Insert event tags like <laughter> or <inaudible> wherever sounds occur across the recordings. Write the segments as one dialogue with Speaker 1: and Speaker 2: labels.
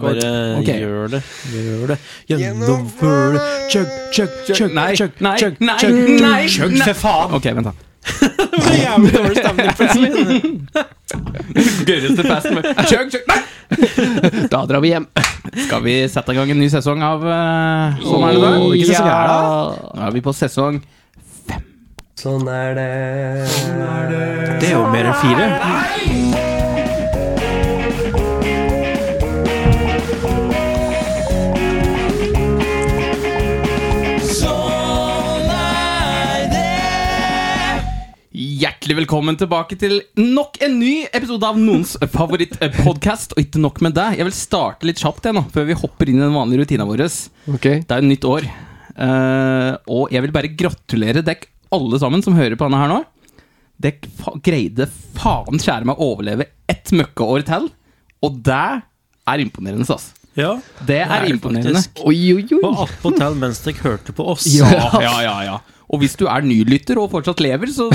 Speaker 1: Bare
Speaker 2: Ok.
Speaker 1: gjør det.
Speaker 2: Gjør det. Gjennomfør det. Chug, chug, chug,
Speaker 3: Nei,
Speaker 2: chug,
Speaker 3: nei,
Speaker 2: chug,
Speaker 3: nei,
Speaker 2: chug,
Speaker 3: nei,
Speaker 2: chug,
Speaker 3: nei.
Speaker 2: for faen!
Speaker 3: Ok,
Speaker 2: <laughs>
Speaker 3: vent da.
Speaker 1: Det var jævlig dårlig stemning plutselig.
Speaker 3: <laughs> Gørreste festen med Chug, chug, nei! Da drar vi hjem. Skal vi sette i gang en ny sesong av eh, Sånn er det da?
Speaker 2: Åh, ikke sesong her,
Speaker 3: da. Nå er vi på sesong
Speaker 4: Sånn er det.
Speaker 1: Det er jo mer enn fire.
Speaker 3: Hjertelig velkommen tilbake til nok en ny episode av noens favorittpodkast. Og ikke nok med det, jeg vil starte litt kjapt jeg nå, før vi hopper inn i den vanlige rutina vår. Det
Speaker 4: Ok.
Speaker 3: er jo nytt år. Eh, og jeg vil bare gratulere dekk alle sammen som hører på denne her nå. Dekk fa greide faen kjære meg å overleve ett møkkaår til. Og det er imponerende, ass.
Speaker 1: Ja,
Speaker 3: Det er,
Speaker 1: det
Speaker 3: imponerende.
Speaker 1: faktisk.
Speaker 4: Oi, oi, oi.
Speaker 1: Og attpåtil mens dere hørte på oss.
Speaker 3: Ja, ja, ja, ja. Og hvis du er nylytter og fortsatt
Speaker 1: <laughs>
Speaker 3: lever, så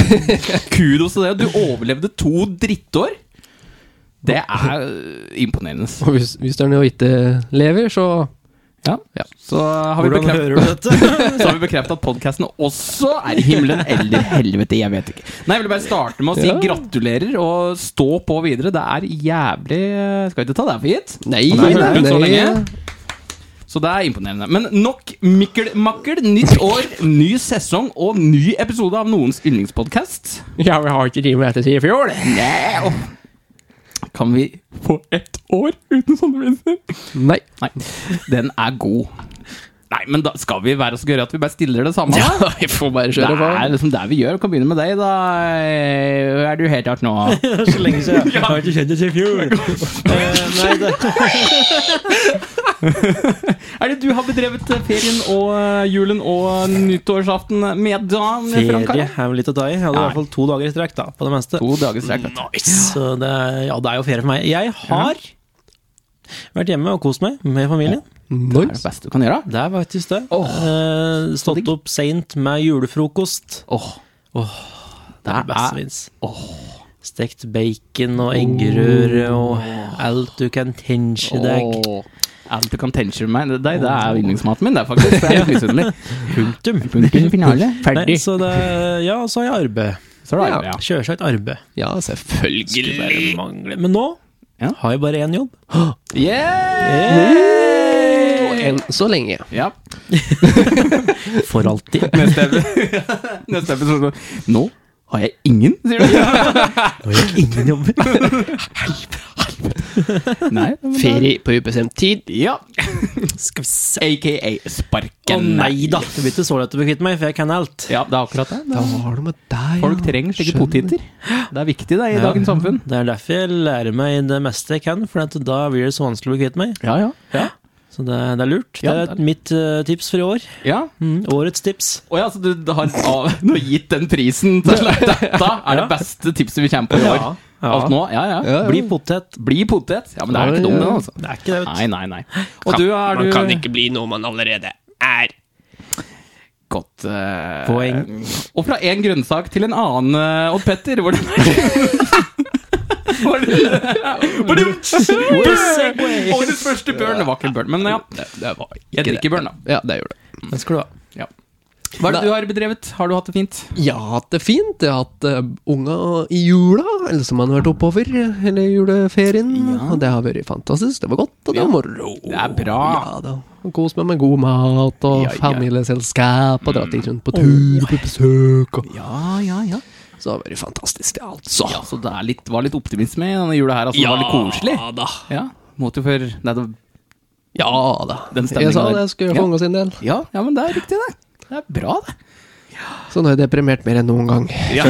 Speaker 3: kudos til det. Du overlevde to drittår. Det er øh, imponerende.
Speaker 4: Og hvis, hvis den jo ikke lever, så
Speaker 3: Ja. Så har vi
Speaker 1: Hvordan
Speaker 3: bekreftet
Speaker 1: hører du dette?
Speaker 3: så har vi bekreftet at podkasten også er i himmelen eller helvete. Jeg vet ikke. Nei, Jeg vil bare starte med å si
Speaker 4: Ja.
Speaker 3: gratulerer og stå på videre. Det er jævlig Skal ikke ta det for gitt.
Speaker 4: Nei,
Speaker 3: Og det har hørt ut så lenge. Så det er imponerende. Men nok mikkelmakkel. Nytt år, ny sesong og ny episode av noens yndlingspodkast.
Speaker 4: Ja, vi har ikke tid med dette siden i fjor.
Speaker 3: Nei, åh. Kan vi få ett år uten sånne prinsesser?
Speaker 4: Nei.
Speaker 3: Nei, den er god. Nei, men da skal vi være så gøyere at vi bare stiller det samme. <laughs> da?
Speaker 4: vi får bare
Speaker 3: det
Speaker 4: på.
Speaker 3: er liksom det vi gjør. Vi kan begynne med deg, da. Eh, Er du helt hardt nå?
Speaker 1: <laughs> Så lenge siden. Jeg har ikke kjent det siden i fjor. Eh, Nei, det
Speaker 3: <laughs> Er det du har bedrevet eh, ferien og eh, julen og nyttårsaften med, da? Frank
Speaker 1: ferie
Speaker 3: Harald?
Speaker 1: er vel litt å ta i. Jeg hadde i
Speaker 3: Nei.
Speaker 1: hvert fall to dager i strekk, da, på det meste.
Speaker 3: To dager strekk. vet du.
Speaker 1: Så det er, ja, det er jo ferie for meg. Jeg har vært hjemme og kost meg med familien.
Speaker 3: Det er det beste du kan gjøre.
Speaker 1: Det er faktisk det.
Speaker 3: Åh.
Speaker 1: Eh, Stått opp seint med julefrokost.
Speaker 3: Åh,
Speaker 1: Det er
Speaker 3: Det er-
Speaker 1: det beste som finnes. Stekt bacon og eggerøre og alt du kan tenke deg.
Speaker 3: åh. Alt du kan tenke meg Det, det er yndlingsmaten min, det, er faktisk. Det er <laughs> litt misunnelig.
Speaker 1: Punktum.
Speaker 3: Punktum finale.
Speaker 1: Nei, så det, ja, så har jeg arbeid.
Speaker 3: Så er det arbeid, ja.
Speaker 1: Sjølsagt arbeid.
Speaker 4: Ja, selvfølgelig.
Speaker 1: Skulle bare mangle. Men nå
Speaker 3: Ja.
Speaker 1: har jeg bare én jobb.
Speaker 4: Og enn så lenge.
Speaker 3: Ja.
Speaker 1: For alltid.
Speaker 3: <laughs> Neste, epi- <laughs> Neste episode Nå har jeg ingen, sier du?
Speaker 1: <laughs> Nå har jeg ingen jobber.
Speaker 3: <laughs> Nei.
Speaker 4: Ferie på ubestemt tid.
Speaker 3: Ja.
Speaker 1: Skal vi se
Speaker 3: AKA
Speaker 1: Å
Speaker 3: sparken.
Speaker 1: nei da! Det blir ikke så lett å bli kvitt meg, for jeg kan alt.
Speaker 3: Ja, det er akkurat det. det.
Speaker 4: Da
Speaker 3: er-
Speaker 4: har du med deg,
Speaker 3: Folk trenger slike poteter. Det er viktig det i dagens samfunn.
Speaker 1: Det er derfor jeg lærer meg det meste jeg kan, for at da blir det så vanskelig å bli kvitt meg.
Speaker 3: Ja, ja.
Speaker 1: Så det, det er lurt.
Speaker 3: Ja,
Speaker 1: det
Speaker 3: det
Speaker 1: er
Speaker 3: er-
Speaker 1: mitt eh, tips for i år.
Speaker 3: ja.
Speaker 1: Årets tips.
Speaker 3: Å ja, så du, du har av, <laughs> du har gitt den prisen til <laughs> slutt. Dette er det beste tipset vi kommer på i år.
Speaker 1: Ja.
Speaker 3: Alt nå? Ja, ja.
Speaker 1: Bli potet.
Speaker 3: Bli potet. Ja, men det er jo ikke dum, den, altså.
Speaker 1: Det er ikke det, vet
Speaker 3: Nei, nei, nei. Og du, er du
Speaker 4: bli noe man allerede er.
Speaker 3: Godt eh,
Speaker 1: Poeng.
Speaker 3: Og fra en grønnsak til en annen, eh, Odd Petter. <laughs> Hvordan Årets første børn. Det var ikke en børn, men ja.
Speaker 4: Det var ikke
Speaker 3: Jeg drikker børn, da.
Speaker 4: Ja, det gjør det.
Speaker 1: du. Den skal du ha.
Speaker 3: Hva er det du har bedrevet? Har du hatt det fint?
Speaker 4: Jeg har hatt det fint. Jeg har hatt eh, unga i jula, eller som han har vært oppover, hele juleferien. Og det har vært fantastisk. Det var godt, og det var moro.
Speaker 3: Det er bra.
Speaker 4: Ja, da. Og Kos meg med god mat og
Speaker 3: Ja, ja.
Speaker 4: familieselskap, og dratt litt rundt på tur på besøk. Og.
Speaker 3: Ja, ja, ja.
Speaker 4: Så det har vært fantastisk, det, altså.
Speaker 3: Ja, så det er litt, var litt optimisme i denne jula her. Altså, Det var litt koselig.
Speaker 4: da.
Speaker 3: Ja, måtte jo før Nei, det,
Speaker 4: Ja da.
Speaker 3: Den stemningen
Speaker 4: jeg sa
Speaker 3: der.
Speaker 4: det, jeg skulle gjøre for
Speaker 3: Ja.
Speaker 4: unga sin del.
Speaker 3: ja, ja, men det er riktig, det. Det er bra, det.
Speaker 4: Så nå er jeg deprimert mer enn noen gang.
Speaker 3: Ja.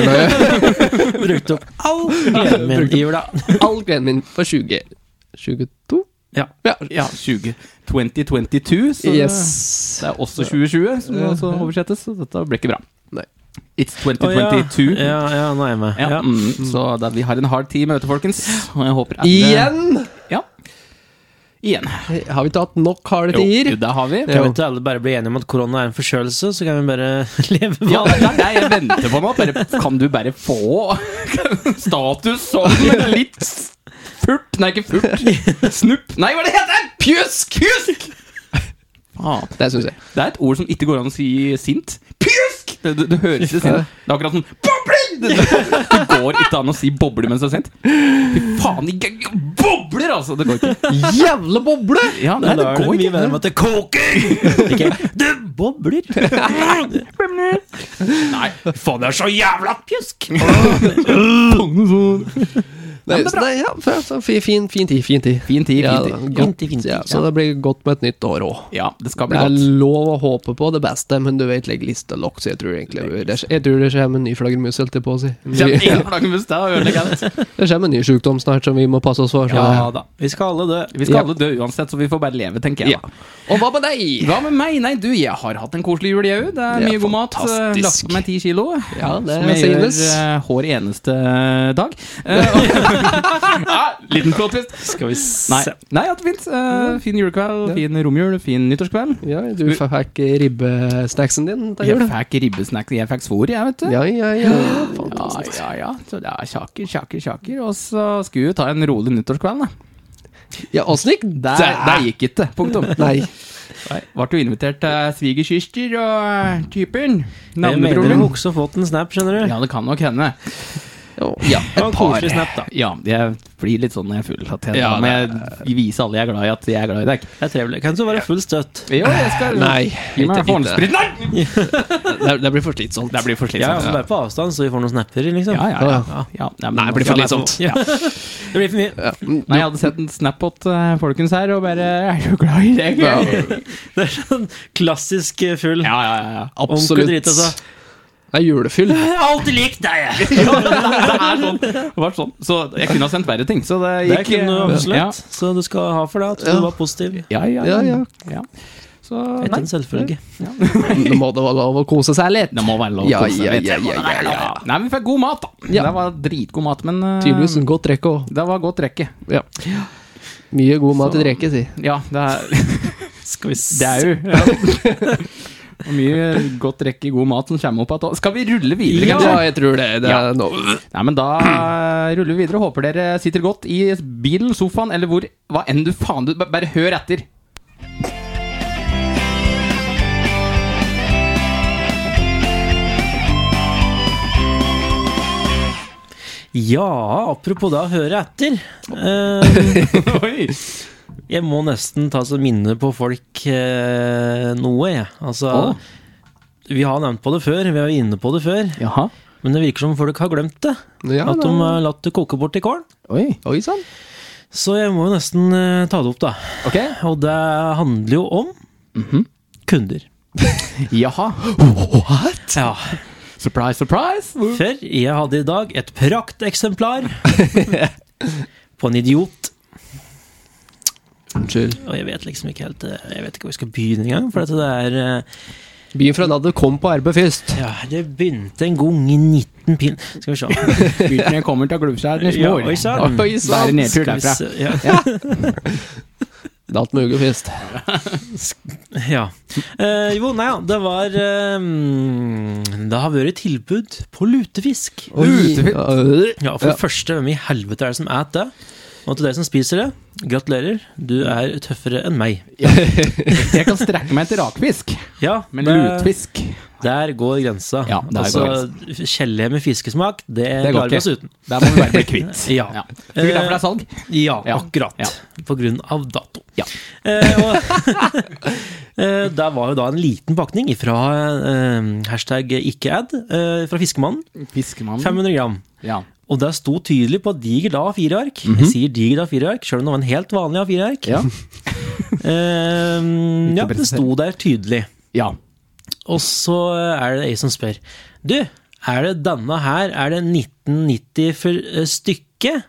Speaker 1: Brukt opp all
Speaker 3: <laughs>
Speaker 1: gleden min i jula.
Speaker 4: <laughs> All gleden min for 20 22?
Speaker 1: Ja.
Speaker 4: Ja.
Speaker 3: Ja, 20, 2022, så
Speaker 4: Yes.
Speaker 3: det er også 2020 som også oversettes, så dette ble ikke bra.
Speaker 4: Nei.
Speaker 3: It's
Speaker 1: Å, ja.
Speaker 3: 2022.
Speaker 1: Ja, ja, nå er jeg med.
Speaker 3: Ja,
Speaker 1: Ja.
Speaker 3: Mm, så det, vi har en hard tid med møte, folkens. Og jeg håper alle-
Speaker 4: Igjen!
Speaker 3: Ja. Igjen.
Speaker 4: Har vi ikke hatt nok harde
Speaker 3: Jo,
Speaker 4: tider?
Speaker 3: jo, det har vi.
Speaker 1: Kan vi ikke alle bare bli enige om at korona er en forkjølelse, så kan vi bare <laughs> leve
Speaker 3: Ja,
Speaker 1: vanlig?
Speaker 3: det er det jeg venter på nå. Bare, kan du bare få <laughs> status som litt furt? Nei, ikke furt. Snupp. Nei, hva er det heter det?
Speaker 4: Pjusk! Pjusk!
Speaker 3: Faen.
Speaker 4: Det syns jeg.
Speaker 3: Det er et ord som ikke går an å si sint. Pjusk! Det, det, det høres ikke sint ut. Det er akkurat sånn Bobler! Det, det, det går ikke an å si bobler mens det er sint. Fy faen, ikke bobler, altså! Det går ikke.
Speaker 4: Jævla boble!
Speaker 3: Ja,
Speaker 1: Nei,
Speaker 3: nei, det går
Speaker 1: mye
Speaker 3: ikke.
Speaker 1: bedre med at det koker!
Speaker 3: <laughs>
Speaker 1: Ikke det bobler.
Speaker 3: Nei, faen, det er så jævla pjusk!
Speaker 4: Nei, så det, ja, f- så fi- fin, fin tid, fin tid.
Speaker 3: Fin tid,
Speaker 4: Ja,
Speaker 3: fin
Speaker 4: da,
Speaker 3: tid.
Speaker 4: godt,
Speaker 1: Fin tid, fin tid,
Speaker 4: ja, så det blir godt med et nytt år òg.
Speaker 3: Ja, det skal
Speaker 4: Det
Speaker 3: bli
Speaker 4: er
Speaker 3: godt.
Speaker 4: lov å håpe på det beste, men du vet, legg lista lågt, så jeg tror egentlig det, jeg tror det kommer en ny flaggermus, holdt jeg på å si.
Speaker 3: Kjem
Speaker 4: Ny-
Speaker 3: inn flaggermus der og ødelegger alt.
Speaker 4: Det kommer en ny sykdom snart som vi må passe oss for. Så.
Speaker 3: Ja da.
Speaker 1: Vi skal alle dø.
Speaker 3: Vi skal
Speaker 4: Ja.
Speaker 3: alle dø uansett, så vi får bare leve, tenker jeg.
Speaker 4: Ja. Og hva med deg?
Speaker 3: Hva med meg? Nei, du, jeg har hatt en koselig jul, jeg òg. Det er
Speaker 4: Det er
Speaker 3: mye god mat. Lagt
Speaker 4: fantastisk.
Speaker 3: på meg ti kilo.
Speaker 4: Ja, det
Speaker 3: som jeg
Speaker 4: synes.
Speaker 3: gjør eh, hver eneste
Speaker 4: <laughs>
Speaker 3: dag. Eh, og- ja, liten plot twist.
Speaker 1: Skal vi
Speaker 3: <laughs> Nei,
Speaker 1: se
Speaker 3: nei ja, det er fint. Eh, fin julekveld, fin romjul, fin nyttårskveld.
Speaker 4: Ja, du fikk ribbesnacksen din til
Speaker 3: Jeg
Speaker 4: jul.
Speaker 3: fikk ribbesnacks, jeg fikk svor, jeg, vet du.
Speaker 4: Ja, ja, ja.
Speaker 3: Ja,
Speaker 4: Fantastisk.
Speaker 3: ja, ja. Så det er sjaker, sjaker, sjaker. Og så skulle vi ta en rolig nyttårskveld, da.
Speaker 4: Ja, åssen gikk
Speaker 3: Det, det gikk ikke. Punktum.
Speaker 4: Nei.
Speaker 3: Nei, Ble jo invitert til svigersyster og eh, typen.
Speaker 1: Jeg mener
Speaker 3: Navnebroren
Speaker 1: hun
Speaker 3: min.
Speaker 1: også fått en snap, skjønner du.
Speaker 3: <laughs> Ja, det kan nok hende.
Speaker 4: Ja.
Speaker 3: Ja,
Speaker 1: Det var en koselig snap, da.
Speaker 3: Ja, jeg blir litt sånn når jeg er full. At jeg,
Speaker 4: Ja,
Speaker 3: da må jeg vise alle jeg er glad i, at jeg er glad i deg.
Speaker 1: Det er trevelig. Kan så være full støtt.
Speaker 3: Jo, jeg skal
Speaker 4: Nei,
Speaker 3: Gi meg
Speaker 4: ikke-
Speaker 3: håndsprit. Nei!
Speaker 4: <laughs> Det, det blir for slitsomt.
Speaker 3: Det blir for
Speaker 1: Ja,
Speaker 3: slitsomt.
Speaker 1: altså det er på avstand, så vi får noen snapper, liksom.
Speaker 3: Ja, ja, ja. ja. ja nei, men-
Speaker 4: Nei, det blir for
Speaker 1: Ja, det er
Speaker 4: slitsomt.
Speaker 1: Ja. <laughs> Det blir for mye.
Speaker 4: Ja.
Speaker 3: Nei, jeg hadde sett en Snap-bot, eh, folkens her, og bare Er du glad i deg? Ja,
Speaker 1: <laughs> Det er sånn klassisk eh, full.
Speaker 3: ja, ja. ja.
Speaker 4: <laughs>
Speaker 1: Onkel
Speaker 4: Absolutt.
Speaker 1: Drit, altså.
Speaker 4: Det er
Speaker 3: <laughs>
Speaker 4: julefyll.
Speaker 1: Jeg har alltid likt deg, jeg!
Speaker 3: Ja, det er sånn. Det var sånn. Så jeg kunne ha sendt verre ting. Så det
Speaker 1: Det
Speaker 3: gikk
Speaker 1: kunne du
Speaker 3: eh,
Speaker 1: absolutt. Så du skal ha for det at
Speaker 4: Ja.
Speaker 1: du var positiv.
Speaker 3: Ja, ja,
Speaker 4: Ja, ja.
Speaker 3: ja. Så
Speaker 1: Etter
Speaker 3: nei.
Speaker 1: en selvfølge.
Speaker 4: Nå må det være lov å kose seg litt.
Speaker 3: Det må være lov å
Speaker 4: Ja,
Speaker 3: kose
Speaker 4: ja,
Speaker 3: litt.
Speaker 4: ja, ja, ja, ja.
Speaker 3: Nei, men vi fikk god mat, da.
Speaker 4: Ja.
Speaker 3: Det var dritgod mat, men eh,
Speaker 4: Tydeligvis en godt rekke òg.
Speaker 3: Det var godt rekke.
Speaker 4: Ja. Mye god mat
Speaker 3: Så-
Speaker 4: i dreke, si.
Speaker 3: Ja, det
Speaker 4: <laughs>
Speaker 3: er,
Speaker 1: Mm. Skal vi se
Speaker 3: det er jo Og mye godt rekke god mat som kommer opp igjen. Skal vi rulle videre,
Speaker 4: Ja,
Speaker 3: kanskje?
Speaker 4: jeg tror det. Det er nå.
Speaker 3: Nei, men da eh, ruller vi videre. Håper dere sitter godt i bilen, sofaen eller hvor hva enn du faen du b- Bare hør
Speaker 4: <laughs>
Speaker 3: etter.
Speaker 1: Ja, apropos da høre etter. Eh,
Speaker 3: Oi.
Speaker 1: jeg må nesten ta så minne på folk eh, noe, jeg. Altså
Speaker 3: Å.
Speaker 1: Vi har nevnt på det før, vi er jo inne på det før.
Speaker 3: Jaha.
Speaker 1: Men det virker som folk har glemt det.
Speaker 4: Ja,
Speaker 1: at de
Speaker 4: da.
Speaker 1: har latt det koke bort i kålen.
Speaker 3: Oi.
Speaker 4: Oi sånn. sann.
Speaker 1: Så jeg må jo nesten eh, ta det opp, da.
Speaker 3: Ok.
Speaker 1: Og det handler jo om kunder.
Speaker 3: Jaha.
Speaker 1: Ja.
Speaker 3: Surprise, surprise.
Speaker 1: For jeg hadde i dag et prakteksemplar på en idiot.
Speaker 4: Unnskyld.
Speaker 1: Og jeg vet liksom ikke helt eh, Jeg vet ikke hvor jeg skal begynne engang. For at det er eh,
Speaker 4: Byen fra da det kom på RB først.
Speaker 1: Ja, det begynte en gang i 19 pin... Skal vi
Speaker 3: <laughs>
Speaker 1: se.
Speaker 3: Gutten kommer til Glubskjær
Speaker 1: Ja,
Speaker 3: i små år.
Speaker 1: oi sann.
Speaker 4: Oi
Speaker 3: Bare
Speaker 4: sann.
Speaker 3: nedtur
Speaker 1: Skal vi
Speaker 3: derfra.
Speaker 1: se, ja. <laughs>
Speaker 4: Datt med Uge først.
Speaker 1: Ja. Eh, jo, nei ja, det var eh, mm, Det har vært tilbud på lutefisk.
Speaker 3: Lutefisk.
Speaker 4: Ja, øh.
Speaker 1: Ja, for
Speaker 4: Ja.
Speaker 1: det første, hvem i helvete er det som et det? Og til dere som spiser det, gratulerer. Du er tøffere enn meg.
Speaker 3: <laughs> Jeg kan strekke meg etter rakfisk,
Speaker 1: Ja,
Speaker 3: men
Speaker 1: det-
Speaker 3: lutfisk
Speaker 1: Der går grensa.
Speaker 3: Ja, der går
Speaker 1: altså, Gelé med fiskesmak, det,
Speaker 3: Det går
Speaker 1: klarer vi oss uten.
Speaker 3: Der må vi bare bli kvitt.
Speaker 1: Ja.
Speaker 3: <laughs> Ja. Sikkert derfor
Speaker 1: Eh,
Speaker 3: det er salg.
Speaker 1: Ja,
Speaker 3: Ja.
Speaker 1: akkurat.
Speaker 3: Ja.
Speaker 1: På grunn av dato.
Speaker 3: Ja.
Speaker 1: Eh, og <laughs> eh, der var jo da en liten pakning fra eh, hashtag ikkead eh, fra Fiskemannen.
Speaker 3: Mm. Fiskemann.
Speaker 1: 500 gram.
Speaker 3: Ja.
Speaker 1: Og det sto tydelig på diger da fireark. Jeg sier diger da fireark, sjøl om det var en helt vanlig A4-ark.
Speaker 3: Mhm. Ja.
Speaker 1: <laughs> Eh, ja,
Speaker 3: Ikke
Speaker 1: det sto der tydelig.
Speaker 3: ja.
Speaker 1: Og så er det ei som spør. Du, er det denne her, er det 1990 for eh, stykket?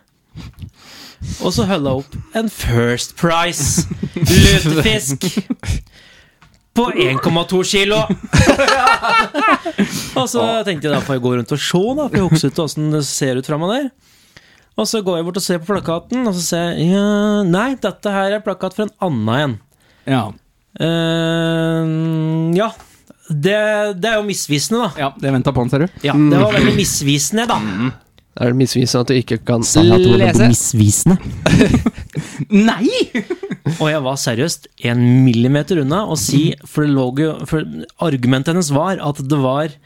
Speaker 1: Og så holder jeg opp en First Price lutefisk på 1,2 kilo. Og så tenkte jeg da får jeg gå rundt og se, da, for jeg husker ikke åssen det ser ut framme der. Og så går jeg bort og ser på plakaten, og så ser jeg ja, Nei, dette her er plakat for en annen en.
Speaker 3: ja.
Speaker 1: Eh, ja. Det, det er jo misvisende, da.
Speaker 3: Ja, det venta på han, ser du.
Speaker 1: Ja, det var veldig misvisende, da.
Speaker 4: Er det misvisende at du ikke kan
Speaker 1: Sannheten om det
Speaker 4: lese?
Speaker 1: Misvisende?
Speaker 3: <laughs> Nei!
Speaker 1: Og jeg var seriøst en millimeter unna å si For, det lå jo, for argumentet hennes var at det var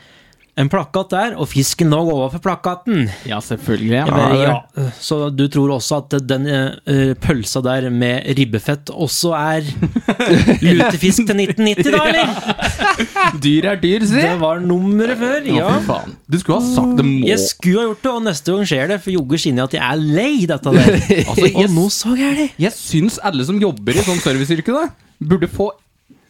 Speaker 1: en plakat der, og fisken lå overfor plakaten.
Speaker 3: Ja, selvfølgelig.
Speaker 1: Jeg
Speaker 3: Ja,
Speaker 1: bare,
Speaker 3: det-
Speaker 1: ja. Så du tror også at den eh, eh, pølsa der med ribbefett også
Speaker 3: <laughs>
Speaker 1: er lutefisk til 1990, da, eller?
Speaker 3: Dyr er dyr, si!
Speaker 1: Det var nummeret før,
Speaker 3: Å,
Speaker 1: ja.
Speaker 3: fy faen. Du skulle ha sagt det må
Speaker 1: Jeg skulle ha gjort det, og neste gang skjer det, for jogger skinner at jeg er lei dette
Speaker 3: <laughs>
Speaker 1: der.
Speaker 3: Altså,
Speaker 1: Og
Speaker 3: yes.
Speaker 1: nå så jeg det.
Speaker 3: Jeg syns alle som jobber i sånn serviceyrke, da, burde få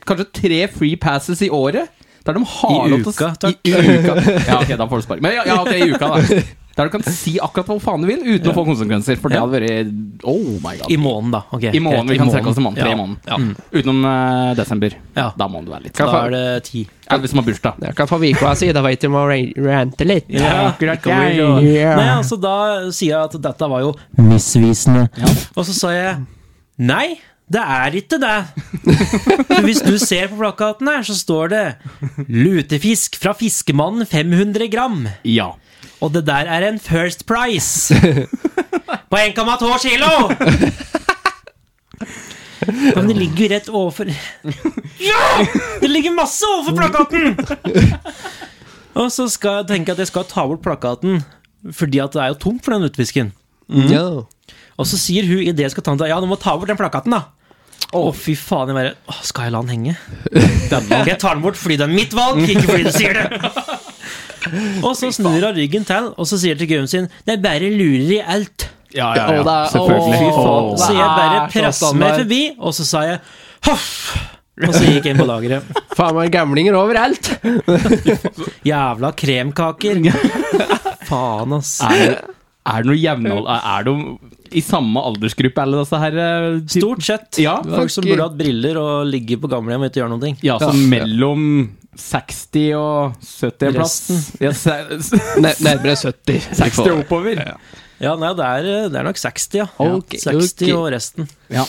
Speaker 3: kanskje tre free passes i året. Der de har
Speaker 1: I
Speaker 3: lov til å s-
Speaker 1: uka, takk.
Speaker 3: I uka. Ja, ok, da får du spark. Men ja, ja, ok, i uka, da. Der du kan si akkurat hva faen du vil uten å få konsekvenser. For det
Speaker 1: Ja.
Speaker 3: hadde vært Oh my god.
Speaker 1: I måneden, da. Ok,
Speaker 3: I måneden,
Speaker 1: greit,
Speaker 3: Vi
Speaker 1: i
Speaker 3: kan trekke oss til måneden. Tre i
Speaker 1: Ja.
Speaker 3: måneden.
Speaker 1: Ja.
Speaker 3: Mm. Utenom eh, desember.
Speaker 1: Ja.
Speaker 3: Da må du være litt
Speaker 1: Da er det ti.
Speaker 3: Eller hvis man har bursdag.
Speaker 4: Det kan få vika si, da veit du må ra- rante litt.
Speaker 1: Ja,
Speaker 4: Akkurat
Speaker 1: kan vi
Speaker 4: der,
Speaker 1: gå.
Speaker 4: ja.
Speaker 1: Nei, altså Da sier jeg at dette var jo misvisende. Og så sa jeg nei, det er ikke det. For hvis du ser på plakaten her, så står det 'Lutefisk fra Fiskemannen 500 gram'.
Speaker 3: Ja.
Speaker 1: Og det der er en First Price på 1,2 kilo! Ja, Men det ligger jo rett overfor Ja! Det ligger masse overfor plakaten! Og så skal jeg tenke at jeg skal ta bort plakaten, fordi at det er jo tomt for den utfisken.
Speaker 4: Ja.
Speaker 1: Og så sier hun idet jeg skal ta den Ja, du må ta bort den plakaten, da. Å, fy faen. Jeg bare Å, skal jeg la den henge? Ok, jeg tar den bort fordi det er mitt valg, ikke fordi du sier det. Og så snur hun ryggen til, og så sier til gubben sin Det er bare lurer i alt.
Speaker 3: Ja,
Speaker 4: Å, det er-
Speaker 3: Selvfølgelig.
Speaker 1: Fy faen.
Speaker 4: Åh,
Speaker 1: så jeg bare
Speaker 4: det er så
Speaker 1: presser meg
Speaker 4: standard.
Speaker 1: forbi, og så sa jeg hoff. Og så gikk jeg inn på lageret.
Speaker 4: Faen meg gamlinger overalt!
Speaker 1: Jævla kremkaker. Faen, ass.
Speaker 3: Er, er det noe jevnhold Er de i samme aldersgruppe, alle disse her? eh, typ-
Speaker 1: Stort sett.
Speaker 3: Ja,
Speaker 1: Folk som burde hatt briller og ligge på gamlehjem og ikke gjøre noen ting.
Speaker 3: Ja, så
Speaker 4: Ja.
Speaker 3: mellom 60 og 70 en plass. Ja, se- <laughs> se-
Speaker 4: Ne- Nærmere 70.
Speaker 3: 60 og oppover.
Speaker 1: Ja, nei, det er, eh, det er nok 60, ja.
Speaker 4: Ok,
Speaker 1: 60
Speaker 4: ok.
Speaker 1: og resten.
Speaker 3: Ja.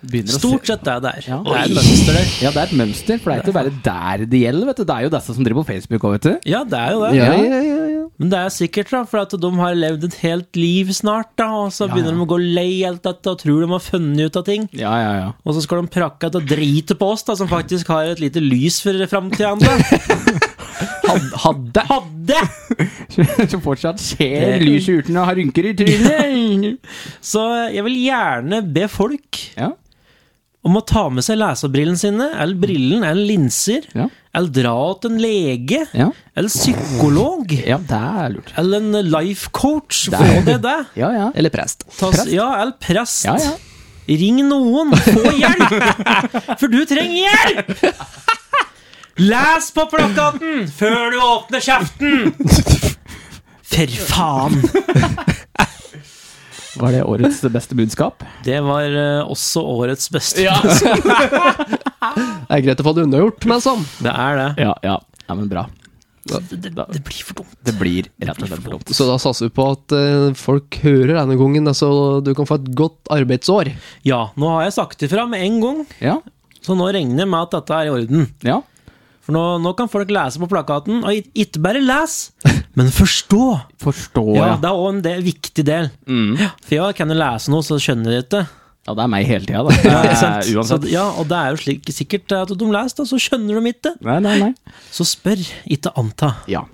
Speaker 3: Begynner å
Speaker 1: Stort
Speaker 3: se-
Speaker 1: sett det er der.
Speaker 3: Ja.
Speaker 1: Det er et mønster der.
Speaker 3: Ja, det er et mønster, for det er ikke bare der det gjelder. vet du Det er jo disse som driver på Facebook òg, vet du.
Speaker 1: Ja, det er jo det.
Speaker 4: Ja, ja, ja, ja.
Speaker 1: Men det er sikkert, da, for at de har levd et helt liv snart, da, og så
Speaker 3: Ja,
Speaker 1: begynner
Speaker 3: ja.
Speaker 1: de å gå lei alt dette og tror de har funnet ut av ting.
Speaker 3: Ja, ja, ja.
Speaker 1: Og så skal de prakke at og drite på oss, da, som faktisk har et lite lys for
Speaker 3: <laughs>
Speaker 1: framtida.
Speaker 3: Hadde
Speaker 1: Hadde!
Speaker 3: <laughs> Så fortsatt skjer lys i urtene og har rynker i trynet.
Speaker 1: Så jeg vil gjerne be folk
Speaker 3: <laughs> Ja,
Speaker 1: om å ta med seg lesebrillene sine, eller brillen, eller linser,
Speaker 3: ja,
Speaker 1: eller dra til en lege,
Speaker 3: ja.
Speaker 1: eller psykolog,
Speaker 3: Ja, det er lurt.
Speaker 1: eller en life coach.
Speaker 3: Det
Speaker 1: Få
Speaker 3: er-
Speaker 1: det, det.
Speaker 3: Ja, ja.
Speaker 4: Eller prest.
Speaker 1: Ta,
Speaker 3: Prest?
Speaker 1: Ja, eller prest.
Speaker 3: Ja, ja.
Speaker 1: Ring noen, få hjelp! <laughs> For du trenger hjelp! Les på plakaten før du åpner kjeften! For faen!
Speaker 3: Var det årets beste budskap?
Speaker 1: Det var eh, også årets beste.
Speaker 4: <laughs> Det er greit å få det unnagjort, men sånn.
Speaker 1: Det er det.
Speaker 3: Ja, ja. ja men bra.
Speaker 1: Det,
Speaker 3: Da-
Speaker 1: det blir for dumt.
Speaker 3: Det blir rett og slett for dumt.
Speaker 4: Så da satser vi på at eh, folk hører denne gangen, så du kan få et godt arbeidsår.
Speaker 1: Ja, nå har jeg sagt ifra med en gang,
Speaker 3: Ja,
Speaker 1: så nå regner jeg med at dette er i orden.
Speaker 3: ja.
Speaker 1: For nå, nå kan folk lese på plakaten, og it- ikke bare les, men forstå.
Speaker 3: Forstår
Speaker 1: Ja, Mm.
Speaker 3: jeg.
Speaker 1: Det er òg en del, viktig del. Ja, For jeg kan jo lese noe, så skjønner jeg det ikke.
Speaker 3: Ja, det er meg hele <laughs> tida, da.
Speaker 1: Ja, ikke sant?
Speaker 3: Eh,
Speaker 1: Så,
Speaker 3: Uansett.
Speaker 1: ja, og det er jo slik, sikkert at de leser, da, så skjønner de ikke.
Speaker 3: Nei, nei, nei.
Speaker 1: Så spør, ikke anta.
Speaker 3: Ja.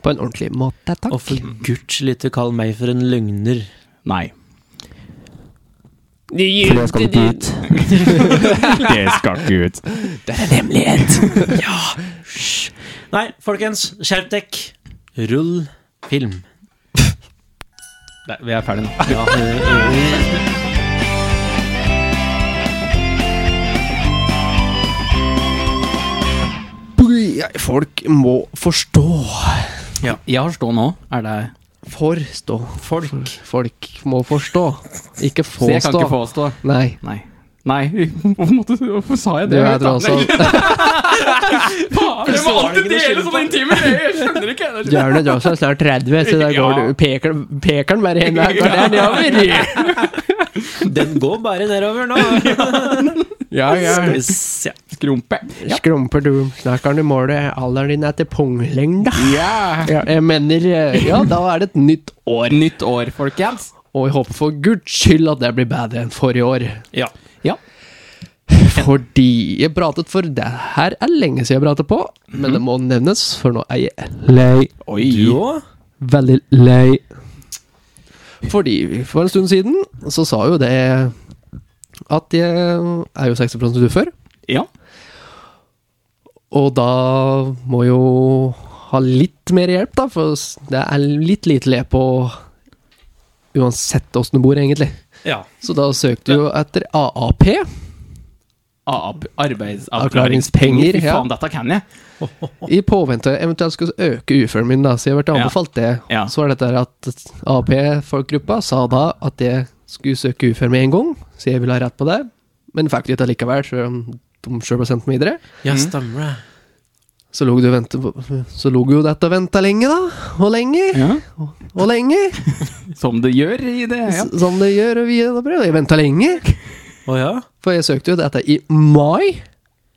Speaker 4: På en ordentlig måte, takk.
Speaker 1: Og for guds skyld ikke kall meg for en løgner.
Speaker 3: Nei.
Speaker 4: det skal du ut.
Speaker 3: <laughs> Det skal ikke ut.
Speaker 4: Det er en hemmelighet.
Speaker 1: Nei, folkens, skjerp dekk. Rull film.
Speaker 3: Nei, vi er ferdige nå.
Speaker 1: Ja, øh, øh.
Speaker 4: Folk må forstå.
Speaker 3: Jeg har stå nå. Er det
Speaker 4: Forstå. Folk. Folk må forstå. Ikke
Speaker 3: Så
Speaker 4: få
Speaker 3: jeg kan
Speaker 4: stå.
Speaker 3: ikke få stå?
Speaker 4: Nei.
Speaker 3: Nei. Nei, <laughs> hvorfor, måtte, hvorfor sa jeg
Speaker 4: Du
Speaker 3: det?
Speaker 4: er altså
Speaker 3: Faen, jeg må
Speaker 1: Plutselig var det
Speaker 3: alltid
Speaker 1: ikke noe
Speaker 3: dele
Speaker 1: skille på.
Speaker 3: sånne intime greier! Jeg skjønner ikke.
Speaker 4: Du er nå også snart 30, så da går
Speaker 3: Ja.
Speaker 4: du peker, peker den bare henne der nedover.
Speaker 1: Den går bare nedover <laughs> nå.
Speaker 4: Ja, ja.
Speaker 1: Skal vi se.
Speaker 3: Skrumpe. Ja.
Speaker 4: Skrumper du, snart kan du måle alderen din etter punglengda.
Speaker 3: Ja.
Speaker 4: Ja, jeg mener eh, Ja, da er det et nytt år.
Speaker 3: Nytt år, folkens.
Speaker 4: Og jeg håper for guds skyld at det blir bedre enn forrige år.
Speaker 1: Ja.
Speaker 3: Ja.
Speaker 4: Fordi jeg pratet for Det her er lenge siden jeg pratet på, men det må nevnes, for nå er jeg Mhm. lei.
Speaker 3: Oi.
Speaker 1: Du òg?
Speaker 4: Veldig lei. Fordi for en stund siden så sa jo det at jeg er jo 60 ufør,
Speaker 3: Ja.
Speaker 4: og da må jo ha litt mer hjelp, da, for det er litt lite le på uansett åssen du bor, egentlig.
Speaker 1: Ja.
Speaker 4: Så da søkte du jo etter AAP.
Speaker 3: Ab-
Speaker 4: Avklaringspenger,
Speaker 3: Arbeidsavklaringspenger. Fy
Speaker 4: ja.
Speaker 3: faen, dette kan jeg.
Speaker 4: I påvente eventuelt skulle øke uføren min, da, så jeg ble
Speaker 3: Ja.
Speaker 4: anbefalt det.
Speaker 3: Ja.
Speaker 4: Så var dette her at AP-folkgruppa sa da at jeg skulle søke ufør med en gang, så jeg ville ha rett på det, men fikk det ikke likevel, selv om de sjøl ble sendt videre.
Speaker 1: Ja, stemmer det.
Speaker 4: Så lå, det og ventet på, så lå jo dette og venta lenge, da. Og lenge,
Speaker 3: Ja.
Speaker 4: og lenge.
Speaker 3: Som det gjør i det. Ja.
Speaker 4: S- Som det gjør. Og vi da prøvde. Jeg venta lenge,
Speaker 1: Å ja?
Speaker 4: for jeg søkte jo dette i mai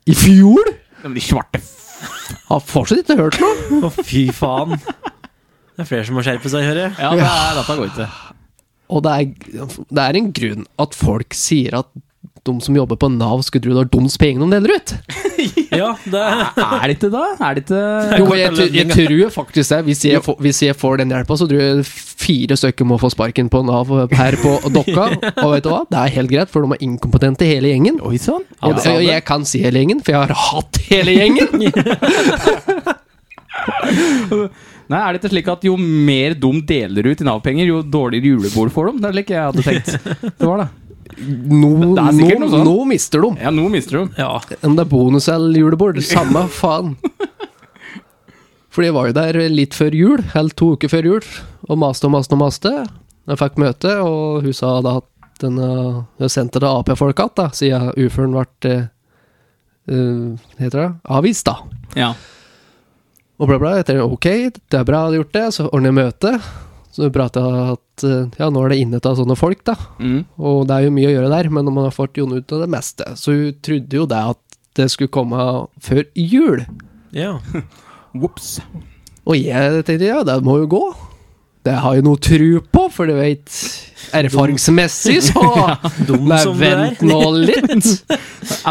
Speaker 4: i fjor.
Speaker 3: Men de svarte f-
Speaker 4: Har fortsatt ikke hørt noe.
Speaker 1: Å, fy faen. Det er flere som må skjerpe seg, hører jeg.
Speaker 3: Ja, det <laughs> er, dette går ikke.
Speaker 4: Og det er, det er en grunn at folk sier at de som jobber på Nav, skulle tro det var deres penger de deler ut.
Speaker 1: <laughs> Ja, det
Speaker 3: Er det ikke da? Er det ikke
Speaker 4: Jo, jeg, tr- jeg tror jo faktisk det. Hvis jeg, får- hvis jeg får den hjelpa, så tror jeg fire stykker må få sparken på Nav her på Dokka.
Speaker 3: <laughs>
Speaker 4: Og vet du hva? Det er helt greit, for de er inkompetente hele gjengen.
Speaker 3: Oi sann.
Speaker 1: Ja,
Speaker 4: Og, det- og jeg kan si hele gjengen, for jeg har hatt hele
Speaker 3: <laughs>
Speaker 4: gjengen!
Speaker 3: Nei, er det ikke slik at jo mer de deler ut i Nav-penger, jo dårligere julebord får de? Det er slik jeg hadde tenkt. Det var det.
Speaker 4: Nå,
Speaker 3: Det er sikkert
Speaker 4: nå,
Speaker 3: noe sånn.
Speaker 4: nå mister de.
Speaker 3: Ja, nå mister de.
Speaker 1: Ja.
Speaker 4: Om det er bonus eller julebord, samme faen. For jeg var jo der litt før jul, eller to uker før jul, og maste og maste og maste. Jeg fikk møte, og hun sa da at den eh, jeg sendte det Ap-folk att, da, siden uføren ble eh, eh, heter det, avvist, da.
Speaker 3: Ja.
Speaker 4: Og bla, bla. Jeg tenkte ok, det er bra jeg har gjort det. Så ordner jeg møte. Så prata jeg at eh, ja, nå er det innet av sånne folk, da.
Speaker 3: Mm.
Speaker 4: Og det er jo mye å gjøre der, men man har fått Jon ut av det meste. Så hun trodde jo det at det skulle komme før jul.
Speaker 1: ja.
Speaker 3: Whoops.
Speaker 4: Og jeg tenkte ja, det må jo gå. Det har jeg noe tru på, for du vet Erfaringsmessig, så
Speaker 1: Dum
Speaker 4: Nei,
Speaker 1: som du
Speaker 4: vent
Speaker 1: er.
Speaker 4: nå litt.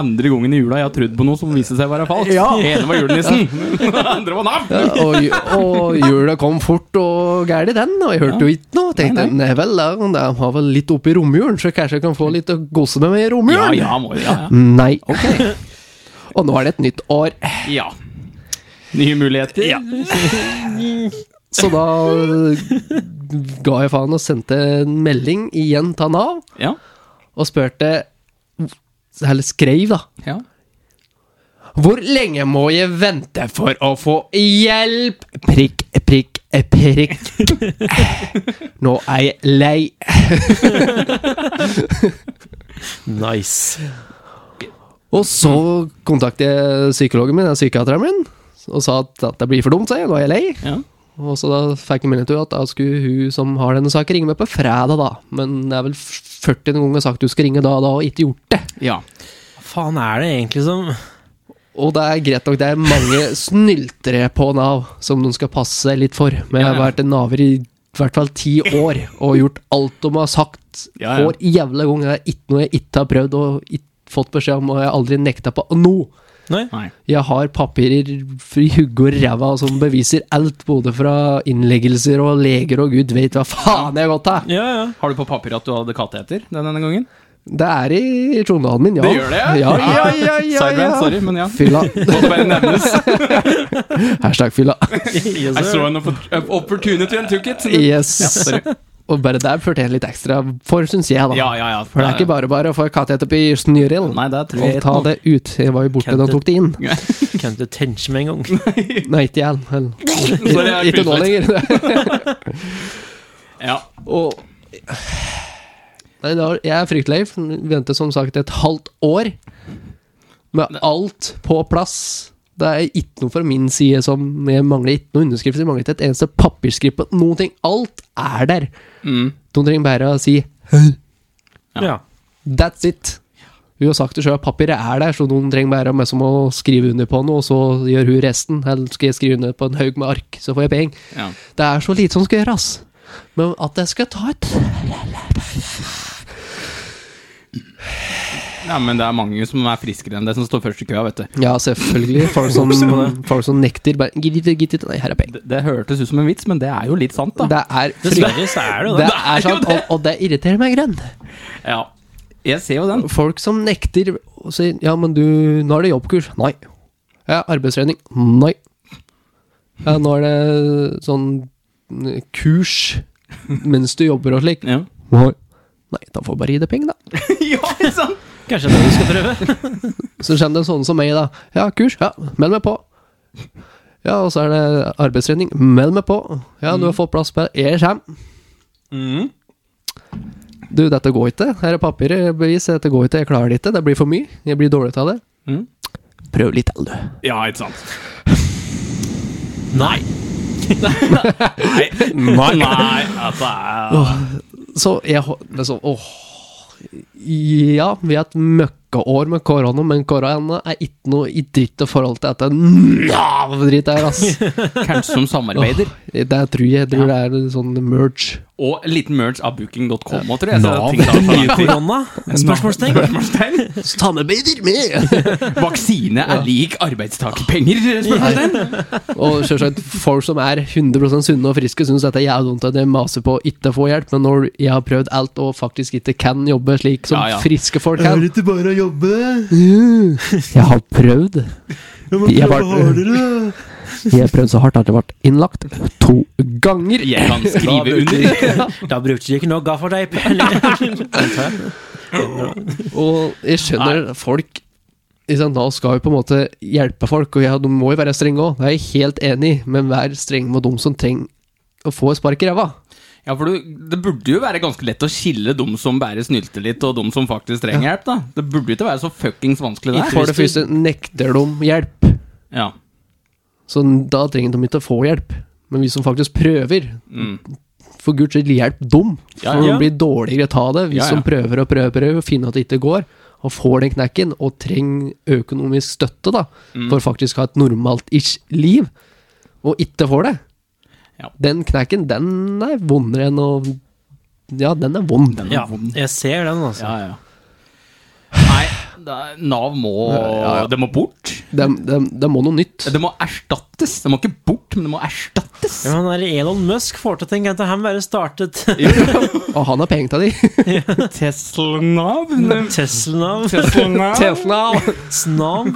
Speaker 3: Andre gangen i jula jeg har trodd på noe som viste seg å være falskt.
Speaker 4: Ja.
Speaker 3: Ene var julenissen, <laughs> den andre var Nav.
Speaker 4: Ja, og, ju- og jula kom fort og gæli, den. Og jeg hørte jo ikke noe. Tenkte
Speaker 3: Nei, nei.
Speaker 4: nei vel, da, de har vel litt oppi romjulen, så kanskje jeg kan få litt å gose med meg i
Speaker 3: Ja,
Speaker 4: romjulen?
Speaker 3: ja, må, ja,
Speaker 4: Nei. <laughs> Og nå er det et nytt år.
Speaker 3: ja. ja. Nye muligheter.
Speaker 4: Så da ga jeg faen og sendte en melding igjen til Nav
Speaker 3: Ja.
Speaker 4: og spurte Eller skrev, da.
Speaker 3: ja.
Speaker 4: Hvor lenge må jeg vente for å få hjelp? Prikk, prikk, prikk. Nå er jeg lei.
Speaker 1: Nice.
Speaker 4: Og så kontaktet jeg psykologen min, eller psykiateren min, og sa at dette blir for dumt, sa jeg. Nå er jeg lei.
Speaker 3: ja.
Speaker 4: Og så da fikk jeg melding til at da skulle hun som har denne saken, ringe meg på fredag, da. Men det er vel 40 ganger sagt du skal ringe da og da, og ikke gjort det.
Speaker 3: ja.
Speaker 1: Hva faen er det egentlig som
Speaker 4: Og det er greit nok, det er mange snyltere på Nav som de skal passe seg litt for. Men jeg har vært en Naver i i hvert fall ti år og gjort alt de har sagt
Speaker 3: Ja, ja.
Speaker 4: for jævla gang. Det er ikke noe jeg ikke har prøvd og ikke fått beskjed om, og jeg har aldri nekta på noe.
Speaker 1: Nei?
Speaker 3: Nei.
Speaker 4: Jeg har papirer i hugge og ræva som beviser alt, både fra innleggelser og leger og gud vet hva faen jeg har gått til.
Speaker 1: Ja, ja.
Speaker 3: Har du på papir at du hadde katteheter den denne gangen?
Speaker 4: Det er i journalen min, ja.
Speaker 3: Det gjør det, ja?
Speaker 4: ja? Ja, ja, ja, ja,
Speaker 3: Sidebrand, sorry, men ja. <laughs>
Speaker 4: Fylla.
Speaker 3: Måtte bare nevnes.
Speaker 4: Hashtag fylla.
Speaker 1: Yes,
Speaker 3: I
Speaker 1: sir.
Speaker 3: saw an oppor- opportunity and took it. Ja,
Speaker 4: Yes.
Speaker 3: sorry.
Speaker 4: Og bare der fortjener litt ekstra for, syns jeg, da.
Speaker 3: ja, ja, ja.
Speaker 4: For det er ikke bare bare å få kattehette på snørill
Speaker 3: Nei, det tror
Speaker 4: og
Speaker 3: jeg
Speaker 4: ta
Speaker 3: <laughs>
Speaker 4: det ut. Jeg var jo borte da han tok det inn.
Speaker 1: Kan ikke tenke meg en gang.
Speaker 4: Nei, ikke jeg. men-
Speaker 3: Sorry, jeg
Speaker 4: Ikke nå
Speaker 3: kutter.
Speaker 4: lenger.
Speaker 3: Ja.
Speaker 4: Og Nei, da- jeg er fryktelig lei. Venter som sagt et halvt år med alt på plass. Det er ikke noe fra min side som Jeg mangler ikke noe underskrift. Jeg mangler ikke et eneste papirskript på noen ting. Alt er der.
Speaker 3: Mm.
Speaker 4: De trenger bare å si
Speaker 1: Ja.
Speaker 4: That's it. Hun har sagt det sjøl, papiret er der, så noen trenger bare meg som å skrive under på noe, og så gjør hun resten. Eller skal jeg skrive under på en haug med ark, så får jeg penger.
Speaker 3: ja.
Speaker 4: Det er så lite som skal gjøres. Men at jeg skal ta et
Speaker 3: Ja, men det er mange som er friskere enn det som står først i køa, vet du.
Speaker 4: Ja, selvfølgelig. Folk som, folk som nekter. Bare gitt it, gitt it. Nei, her er penger.
Speaker 3: Det, det hørtes ut som en vits, men det er jo litt sant, da.
Speaker 4: Det er frykt.
Speaker 1: Dessverre så er det jo
Speaker 4: Det
Speaker 1: det.
Speaker 4: er sant, og, og det irriterer meg grønn.
Speaker 3: Ja. Jeg ser jo den.
Speaker 4: Folk som nekter og sier 'ja, men du, nå er det jobbkurs'. Nei. Ja, arbeidstrening. Nei. Ja, nå er det sånn mm, kurs mens du jobber og slik.
Speaker 3: Ja,
Speaker 4: Nei. Nei, da får jeg bare gi deg penger, da.
Speaker 3: <laughs> ja ikke sant?
Speaker 1: Kanskje det er det du skal prøve?
Speaker 4: Så kommer det sånne som meg, da. Ja, kurs. Ja, meld meg på. Ja, og så er det arbeidstrening. Meld meg på. Ja, du har fått plass på det. Jeg kommer.
Speaker 1: Mm.
Speaker 4: Du, dette går ikke. Her er papirer, bevis. Dette går ikke. Jeg klarer det ikke. Det blir for mye. Jeg blir dårlig av det.
Speaker 3: Mm.
Speaker 4: Prøv litt til, du.
Speaker 3: Ja, ikke sant.
Speaker 1: Nei.
Speaker 4: <laughs>
Speaker 3: Nei. Nei, altså ja.
Speaker 4: Så jeg hå- liksom, åh. Ja, vi har et møkkaår med korona, men korona er ikke noe i dritt i forhold til dette Nav-dritt her, ass.
Speaker 3: Kanskje som samarbeider.
Speaker 4: Det tror jeg, jeg tror det er en sånn merge.
Speaker 3: Og en liten merge av booking.com òg, tror jeg. Så
Speaker 1: Nav.
Speaker 3: ting tar for lang tid.
Speaker 1: Korona? Spørsmålstegn?
Speaker 3: Spørsmålstegn.
Speaker 4: Samarbeider med!
Speaker 3: Vaksine er lik arbeidstakerpenger? Spørsmålstegn.
Speaker 4: <laughs> Og selvsagt, folk som er 100 sunne og friske, syns dette er jævlig dumt at jeg maser på å ikke få hjelp, men når jeg har prøvd alt og faktisk ikke kan jobbe slik som
Speaker 3: Ja, ja.
Speaker 4: friske folk kan
Speaker 2: ikke bare å jobbe?
Speaker 4: Jeg har prøvd.
Speaker 2: Jeg må
Speaker 4: Jeg
Speaker 2: prøve
Speaker 4: bare-
Speaker 2: hardere.
Speaker 4: Jeg har prøvd så hardt at jeg ble innlagt to ganger.
Speaker 3: Jeg kan skrive under.
Speaker 1: Da brukte du ikke noe gaffateip. Eller-
Speaker 4: <laughs> Og jeg skjønner folk ikke sant, Nå skal jo på en måte hjelpe folk, og ja, de må jo være strenge òg, det er jeg helt enig i, men vær streng mot dem som trenger å få et spark i ræva.
Speaker 3: Ja, for du, Det burde jo være ganske lett å skille de som bare snylter litt, og de som faktisk trenger hjelp. da Det burde jo ikke være så fuckings vanskelig. Det her.
Speaker 4: For det første nekter de hjelp.
Speaker 3: Ja.
Speaker 4: Så da trenger de ikke å få hjelp. Men vi som faktisk prøver,
Speaker 3: Mm.
Speaker 4: for guds skyld, hjelp dem. For
Speaker 3: Ja,
Speaker 1: ja.
Speaker 4: de blir dårligere ta det. Vi
Speaker 3: Ja, ja.
Speaker 4: som prøver og prøver, prøver og finner at det ikke går, og får den knekken, og trenger økonomisk støtte da,
Speaker 3: Mm.
Speaker 4: for faktisk å ha et normalt-ish liv, og ikke får det.
Speaker 3: Ja.
Speaker 4: Den knekken, den er vondere enn å Ja, den er vond.
Speaker 3: Den er
Speaker 1: Ja,
Speaker 3: vond.
Speaker 1: jeg ser den, altså.
Speaker 3: ja, ja. Nei, det er- Nav må Det må bort.
Speaker 4: Det det må noe nytt.
Speaker 3: Det må erstattes. Det må ikke bort, men det må erstattes.
Speaker 1: Ja, men der Elon Musk får til ting at han bare startet
Speaker 4: <laughs> Og han har penger til de.
Speaker 3: Tesla-Nav.
Speaker 1: Tesla-navn.
Speaker 3: <laughs> Tesla-Nav.
Speaker 4: Tesla!
Speaker 1: Snavn.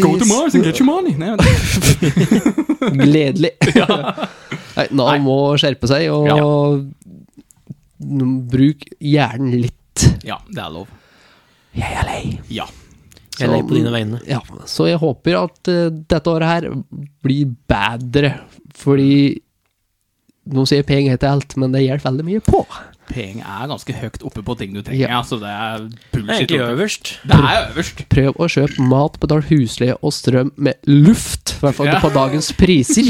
Speaker 3: Go to Mars and get your money. Nei, vent.
Speaker 4: <laughs> Gledelig. Nei, Nav må skjerpe seg, og n- bruk hjernen litt.
Speaker 3: Ja, det er lov.
Speaker 4: Jeg er lei.
Speaker 3: Ja.
Speaker 1: Jeg legger på dine vegne.
Speaker 4: Ja, så jeg håper at eh, dette året her blir bedre, fordi nå sier penger til alt, men det hjelper veldig mye på.
Speaker 3: Penger er ganske høyt oppe på ting du trenger.
Speaker 4: Ja.
Speaker 3: Altså, det er
Speaker 1: Det er
Speaker 3: bullshit.
Speaker 1: egentlig øverst.
Speaker 3: Det er øverst.
Speaker 4: Prøv å kjøpe mat, betal husleie og strøm med luft, i hvert fall
Speaker 3: Ja.
Speaker 4: på dagens priser.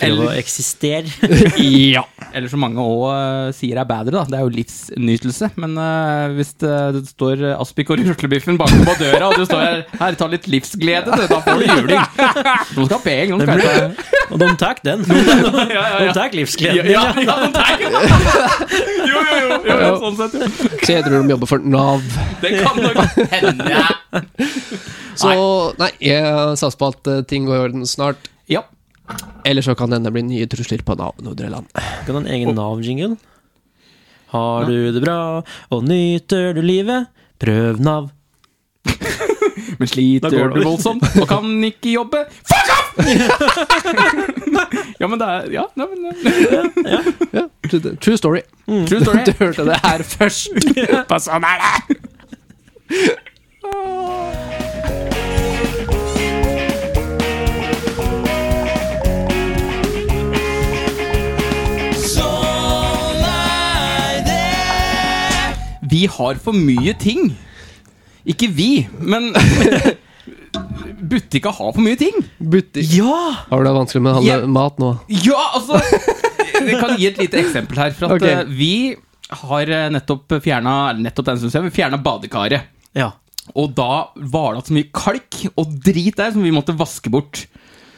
Speaker 1: Prøv å
Speaker 3: Eller-
Speaker 1: eksistere.
Speaker 3: <laughs>
Speaker 4: ja.
Speaker 3: Eller som mange òg sier er bedre, da. Det er jo livsnytelse. Men eh, hvis det, det står eh, Aspik og ruslebiffen banker på døra, og du står her Her, ta litt livsglede, du. Da får du juling. Noen skal ha penger. Noen skal ha
Speaker 1: <laughs> Og de tar den.
Speaker 3: Ja, ja,
Speaker 1: De
Speaker 3: ja.
Speaker 1: tar
Speaker 3: Ja,
Speaker 1: livsgleden
Speaker 3: ja,
Speaker 1: din.
Speaker 3: ja, sånn noen tar- Jo, jo, jo, jo, jo, sånn sett, jo.
Speaker 4: Så jeg tror de jobber for Nav.
Speaker 3: Det kan nok hende.
Speaker 4: Så nei, jeg satser på at eh, ting går i orden snart.
Speaker 3: Ja.
Speaker 4: Eller så kan det hende bli nye trusler på Nav Nordre land.
Speaker 1: Kan du ha en egen Nav-jingle? Har du det bra, og nyter du livet? Prøv Nav. Da
Speaker 3: Men
Speaker 1: går
Speaker 3: sliter
Speaker 1: det
Speaker 3: du
Speaker 1: over.
Speaker 3: voldsomt og kan ikke jobbe. Fuck off! <laughs> ja, men det er Ja, nei, men eh,
Speaker 4: Ja, true, true story.
Speaker 1: Mm.
Speaker 3: True story.
Speaker 4: Du hørte det her først.
Speaker 3: Hva sånn er det! Vi har for mye ting. Ikke vi, men <laughs> Butikka har for mye ting.
Speaker 4: Butikk.
Speaker 1: Ja!
Speaker 4: Har du det vanskelig med å handle
Speaker 3: Ja.
Speaker 4: mat nå?
Speaker 3: Ja, altså Jeg kan gi et lite eksempel her. For at
Speaker 4: Ok.
Speaker 3: eh, vi har eh, nettopp fjerna Nettopp den, synes jeg. Vi fjerna badekaret.
Speaker 1: Ja.
Speaker 3: Og da var det så mye kalk og drit der som vi måtte vaske bort.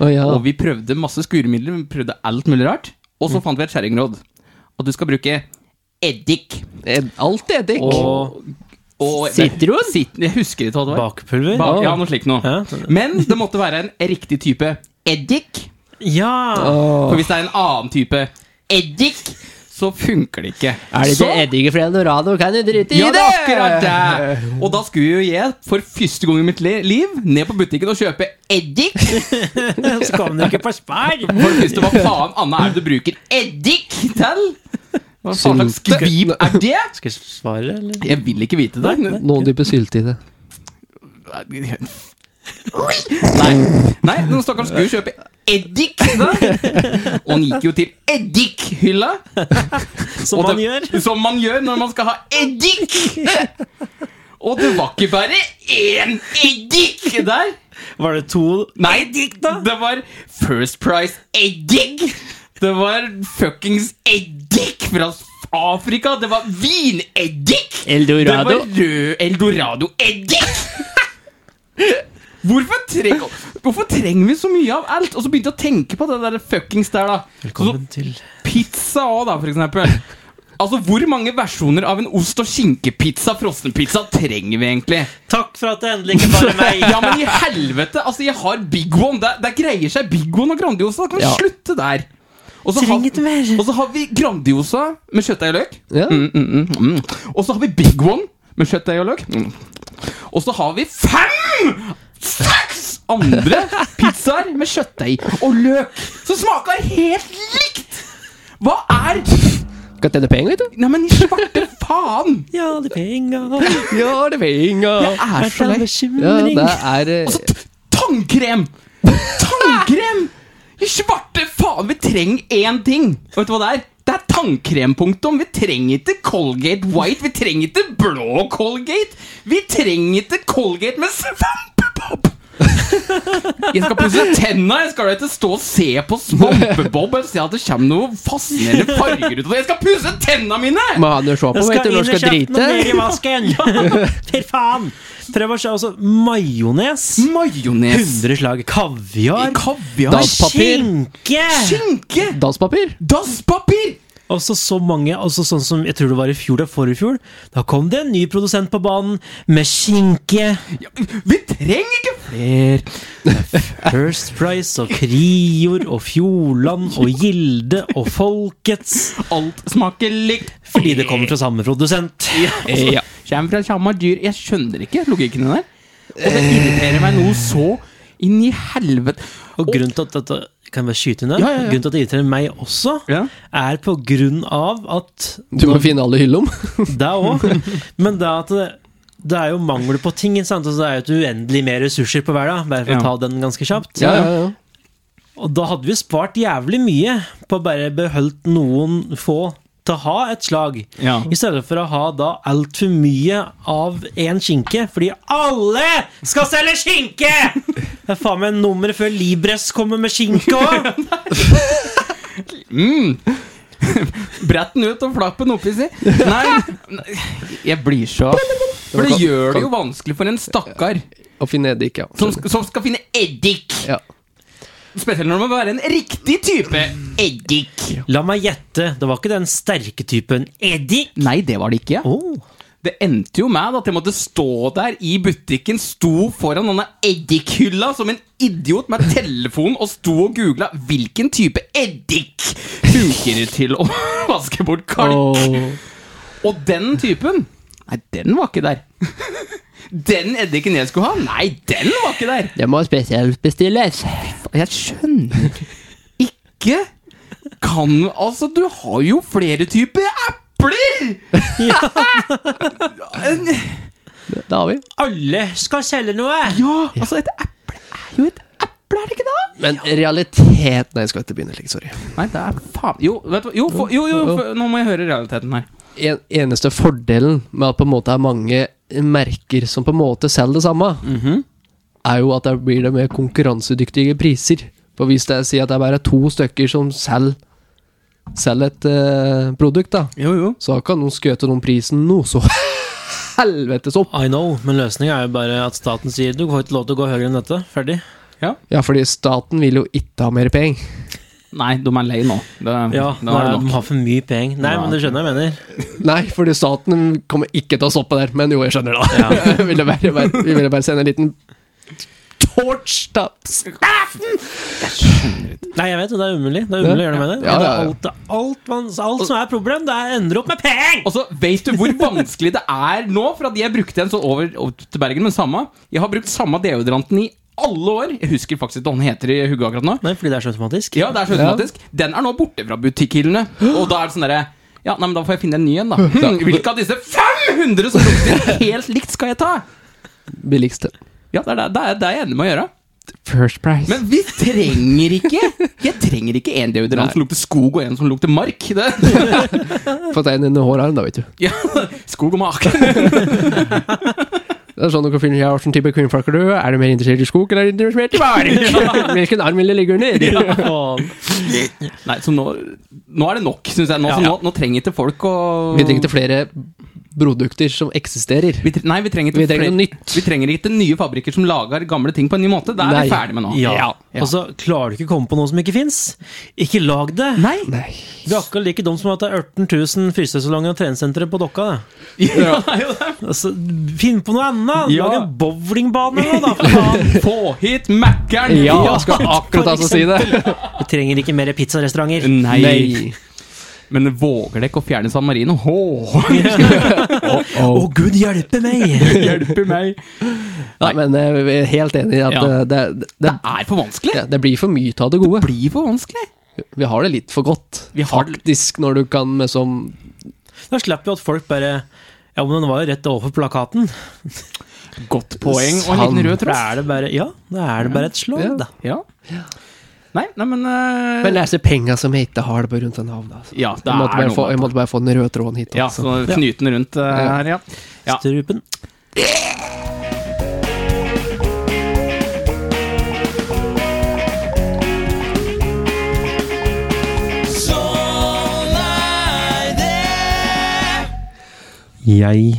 Speaker 4: Å ja.
Speaker 3: Og vi prøvde masse skuremidler, vi prøvde alt mulig rart. Og
Speaker 4: Mm.
Speaker 3: så fant vi et skjæringråd. At du skal bruke eddik.
Speaker 4: Ed- Alt er eddik.
Speaker 1: Og
Speaker 3: Og-
Speaker 4: Sitron?
Speaker 3: Sit- Jeg husker ikke hva det var.
Speaker 1: Bakepulver?
Speaker 3: Bak- ja, noe slikt noe.
Speaker 1: Ja.
Speaker 3: Men det måtte være en riktig type eddik.
Speaker 1: Ja!
Speaker 3: For hvis det er en annen type eddik, så funker det ikke.
Speaker 4: Er det
Speaker 3: så,
Speaker 4: ikke eddik fra Eldorado, kan du drite i
Speaker 3: Ja, det
Speaker 4: Sånn. det!
Speaker 3: er akkurat det! Og da skulle jo jeg for første gang i mitt li- liv ned på butikken og kjøpe eddik.
Speaker 1: <laughs> Så kom det ikke på speil!
Speaker 3: For det første, hva faen annet er det du bruker eddik til? Hva faen slags
Speaker 4: Sylte.
Speaker 3: skvip er det?
Speaker 1: Skal jeg svare, eller?
Speaker 3: Jeg vil ikke vite det.
Speaker 4: Noen type sylte i det.
Speaker 3: Nei, Nei den stakkaren skulle jo kjøpe eddik. Da. Og han gikk jo til eddikhylla.
Speaker 1: Som
Speaker 3: Og
Speaker 1: man
Speaker 3: det-
Speaker 1: gjør.
Speaker 3: Som man gjør når man skal ha eddik. Og det var ikke bare én eddik der.
Speaker 1: Var det to
Speaker 3: Nei, det var First Price eddik. Det var fuckings eddik fra Afrika. Det var vineddik.
Speaker 4: Eldorado.
Speaker 3: Det var rød Eldorado-eddik! Hvorfor, treng, hvorfor trenger vi så mye av alt? Og så begynte jeg å tenke på det der fuckings der, da.
Speaker 1: Velkommen til
Speaker 3: Så pizza òg, da, for eksempel. Altså, Hvor mange versjoner av en ost- og skinkepizza, frossenpizza, trenger vi egentlig?
Speaker 1: Takk for at det endelig ikke bare er
Speaker 3: <laughs>
Speaker 1: meg!
Speaker 3: Ja, men i helvete! Altså, jeg har Big One. Der, der greier seg Big One og Grandiosa. Da kan vi
Speaker 4: Ja.
Speaker 3: slutte der. Og så,
Speaker 1: Trenger ikke mer.
Speaker 3: har, og så har vi Grandiosa med kjøttdeig og løk.
Speaker 4: Ja.
Speaker 3: Mm, mm, mm, mm. Og så har vi Big One med kjøttdeig og løk. Mm. Og så har vi fem! Seks andre pizzaer med kjøttdeig og løk som smaker helt likt! Hva er
Speaker 4: Skal tjene penger, vet du.
Speaker 3: Neimen, svarte faen!
Speaker 1: Ja, de penga
Speaker 4: Ja, det er penger.
Speaker 3: Jeg er så lei.
Speaker 4: Ja,
Speaker 1: bekymring.
Speaker 4: det er eh,
Speaker 3: Og så Altså, t- tannkrem! Tannkrem! I svarte faen, vi trenger én ting. Og vet du hva det er? Det er tannkrem, punktum. Vi trenger ikke Colgate White. Vi trenger ikke blå Colgate. Vi trenger ikke Colgate med svampebob! Jeg skal pusse tenna. Jeg skal da ikke stå og se på svampebob og se at det kommer noe fascinerende farger ut av det. Jeg skal pusse tenna mine!
Speaker 4: Må han jo se på,
Speaker 1: Jeg
Speaker 4: vet
Speaker 1: skal
Speaker 4: du,
Speaker 1: inn
Speaker 4: når
Speaker 1: og
Speaker 4: han skal
Speaker 1: kjøpe noe mer i
Speaker 4: drite.
Speaker 1: vasken! <laughs> For faen! Prøv å se. Altså, majones.
Speaker 3: Majones.
Speaker 1: 100 slag kaviar.
Speaker 3: Kaviar.
Speaker 4: Da- Dasspapir.
Speaker 1: Skinke!
Speaker 3: Skinke.
Speaker 4: Danspapir.
Speaker 3: Dasspapir.
Speaker 1: Og så så mange, altså sånn som jeg tror det var i fjor eller forrige fjor, da kom det en ny produsent på banen med skinke,
Speaker 3: Ja, vi trenger ikke flere!
Speaker 1: First Price og Krior og Fjordland og Gilde og Folkets,
Speaker 3: Alt smaker likt.
Speaker 1: fordi det kommer fra samme produsent.
Speaker 3: ja. Kjem fra samme dyr. Jeg skjønner ikke logikken din der. Og det irriterer meg noe så inn i helvete.
Speaker 1: Og grunnen til at dette kan jeg bare skyte inn det,
Speaker 3: Ja, ja, ja.
Speaker 1: grunnen til at det irriterer meg også,
Speaker 3: Ja.
Speaker 1: er på grunn av at
Speaker 4: Du må finne alle hyllene om.
Speaker 1: Det òg. Men det at det, det er jo mangel på ting. ikke Sant? Og så er det jo et uendelig mer ressurser på hver dag. Bare for
Speaker 3: Ja.
Speaker 1: å ta den ganske kjapt.
Speaker 4: Ja, ja, ja.
Speaker 1: Og da hadde vi spart jævlig mye på å bare beholdt noen få til å ha et slag.
Speaker 3: Ja.
Speaker 1: I stedet for å ha da altfor mye av én skinke, fordi alle skal selge skinke! Det er faen meg nummeret før Libres kommer med skinke òg!
Speaker 3: Brett den ut og flapp den oppi si. Nei, nei, jeg blir så For det gjør det jo vanskelig for en stakkar
Speaker 4: Og finne eddik, ja.
Speaker 3: som, sk- som skal finne eddik.
Speaker 4: ja.
Speaker 3: Spesielt når det må være en riktig type eddik.
Speaker 1: La meg gjette, det var ikke den sterke typen eddik?
Speaker 3: Nei, det var det ikke.
Speaker 1: Oh.
Speaker 3: Det endte jo med at jeg måtte stå der i butikken, sto foran denne eddikhylla som en idiot med telefon og sto og googla hvilken type eddik funker til å <laughs> vaske bort kalk. Og den typen Nei, den var ikke <laughs> der. Den eddiken jeg skulle ha, nei, den var ikke der.
Speaker 4: Det må spesielt bestilles.
Speaker 3: Og jeg skjønner ikke Kan Altså, du har jo flere typer epler! Ja.
Speaker 4: Det har vi.
Speaker 1: Alle skal selge noe!
Speaker 3: Ja, altså et eple er jo et eple, er det ikke det?
Speaker 4: Men realitet Nei, jeg skal ikke begynne slik, sorry.
Speaker 3: Nei, det er faen Jo, vet du, hva- jo, for, jo, jo, for, nå må jeg høre realiteten her.
Speaker 4: En, eneste fordelen med at på en måte er mange merker som på en måte selger det samme,
Speaker 3: Mhm.
Speaker 4: er jo at da blir det mer konkurransedyktige priser. For hvis det sier at det er bare to stykker som selger selger et eh, produkt, da,
Speaker 3: Jo, jo.
Speaker 4: så kan noen skøte noen prisen noe så <laughs> helvetes opp.
Speaker 1: I know, men løsninga er jo bare at staten sier du får ikke lov til å gå høyere enn dette. Ferdig.
Speaker 4: Ja, fordi staten vil jo ikke ha mer penger.
Speaker 3: Nei, de er lei nå. Det,
Speaker 1: Ja,
Speaker 3: det er
Speaker 1: nei,
Speaker 3: nok.
Speaker 1: de har for mye penger. Nei,
Speaker 3: Ja.
Speaker 1: men du skjønner hva jeg mener.
Speaker 4: Nei, fordi staten kommer ikke til å stoppe der. Men jo, jeg skjønner det. da. <laughs> Vi ville bare, bare, vi ville bare sende en liten torch da.
Speaker 1: Nei, jeg vet det. Det er umulig. Det er umulig å gjøre noe med det. det
Speaker 4: Ja, ja,
Speaker 1: er
Speaker 4: ja.
Speaker 1: alt, alt, man, alt som er problem, det er- ender opp med penger!
Speaker 3: Og så Vet du hvor vanskelig det er nå? For at jeg brukte en sånn over, over til Bergen, men samme. Jeg har brukt samme deodoranten i alle år. Jeg husker faktisk ikke hva den heter i hugget akkurat nå.
Speaker 1: Nei, fordi det er så automatisk.
Speaker 3: Ja, det er så automatisk. Den er nå borte fra butikkhyllene. Og da er det sånn derre Ja, nei, men da får jeg finne en ny en, da. Hmm, hvilke av disse 500 som lukter helt likt, skal jeg ta?
Speaker 4: Billigste.
Speaker 3: Ja, det er det, det, er, det er jeg enig med å gjøre.
Speaker 4: First price.
Speaker 3: Men vi trenger ikke Jeg trenger ikke en deodorant som lukter skog, og en som lukter mark. Det,
Speaker 4: Få ta en inn i hårarm, da, vet du.
Speaker 3: ja, skog og mak.
Speaker 4: Det er sånn dere finner Hvilken type kvinnfolker du er. Er du mer interessert i skog, eller er du interessert i bark? Hvilken arm vil du ligge under?
Speaker 1: <laughs> Ja, faen.
Speaker 3: Nei, så nå, nå er det nok, syns jeg. Nå, så
Speaker 1: Ja.
Speaker 3: nå, nå trenger ikke folk å
Speaker 4: Vi trenger ikke flere produkter som eksisterer.
Speaker 3: Vi tre- Nei, vi trenger, ikke
Speaker 4: Vi trenger
Speaker 3: flere-
Speaker 4: noe nytt.
Speaker 3: Vi trenger ikke nye fabrikker som lager gamle ting på en ny måte. Det er
Speaker 4: Nei.
Speaker 3: vi ferdig med nå.
Speaker 1: Ja.
Speaker 3: Ja.
Speaker 1: Og så klarer du ikke å komme på noe som ikke fins. Ikke lag det!
Speaker 3: Nei!
Speaker 4: Nei.
Speaker 1: Det er akkurat like dumt som at det er 18 000 frysesalonger og treningssentre på Dokka. Det.
Speaker 3: Ja, det er jo det.
Speaker 1: Altså, finn på noe annet!
Speaker 3: Ja.
Speaker 1: Lag en bowlingbane nå, da! For <laughs> faen.
Speaker 3: Få hit Mækkern!
Speaker 4: Ja, jeg skal akkurat altså si det.
Speaker 1: Vi trenger ikke mer pizzarestauranter. <laughs>
Speaker 3: Nei.
Speaker 4: Nei.
Speaker 3: Men våger dere ikke å fjerne San Marino? Åh,
Speaker 1: Å, gud hjelpe meg!
Speaker 3: hjelpe meg!
Speaker 4: Nei, men eh, vi er helt enig i at
Speaker 3: Ja.
Speaker 4: eh, det, det, det,
Speaker 3: Det er for vanskelig.
Speaker 4: det blir for mye av det gode.
Speaker 3: Det blir for vanskelig.
Speaker 4: Vi har det litt for godt,
Speaker 3: Vi har det-
Speaker 4: faktisk, når du kan med som
Speaker 1: <laughs> Da slipper vi at folk bare Ja, men den var jo rett overfor plakaten.
Speaker 3: Godt poeng og en liten
Speaker 4: Sant.
Speaker 3: rød
Speaker 1: Da
Speaker 3: tråd.
Speaker 1: er det bare Ja, da er det bare et
Speaker 4: Ja.
Speaker 1: slag, da.
Speaker 3: Ja. Nei, nei, men, eh,
Speaker 4: Men det er så penga som jeg ikke har det på rundt den havna. Altså.
Speaker 3: Ja, det
Speaker 4: Jeg, måtte
Speaker 3: er
Speaker 4: bare
Speaker 3: noe
Speaker 4: få,
Speaker 3: med
Speaker 4: jeg måtte bare få den røde tråden hit.
Speaker 3: Ja,
Speaker 4: Altså.
Speaker 3: så knuten rundt eh,
Speaker 4: Ja.
Speaker 3: her, ja. Ja.
Speaker 1: Strupen. Jeg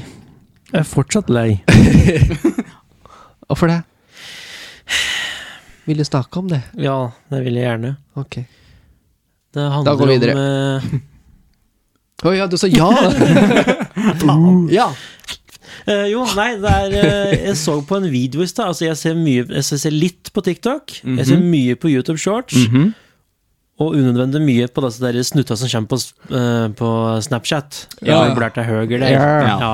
Speaker 1: er fortsatt <laughs> lei.
Speaker 4: Hvorfor det? Vil du snakke om det?
Speaker 1: Ja, det vil jeg gjerne.
Speaker 4: Ok.
Speaker 1: Det handler
Speaker 4: Da går vi videre.
Speaker 1: om eh,
Speaker 4: Å ja, du sa
Speaker 1: <laughs>
Speaker 4: ja! ja.
Speaker 1: eh, eh, Jo, nei, det er eh, Jeg så på en video i stad. Altså, jeg ser, mye, jeg ser litt på TikTok. Jeg ser mye på YouTube Shorts. Og unødvendig mye på disse der snutta som kommer på, s- eh, på Snapchat.
Speaker 4: Ja.
Speaker 1: Ja, Blært er høger der.
Speaker 4: Ja.
Speaker 1: Ja.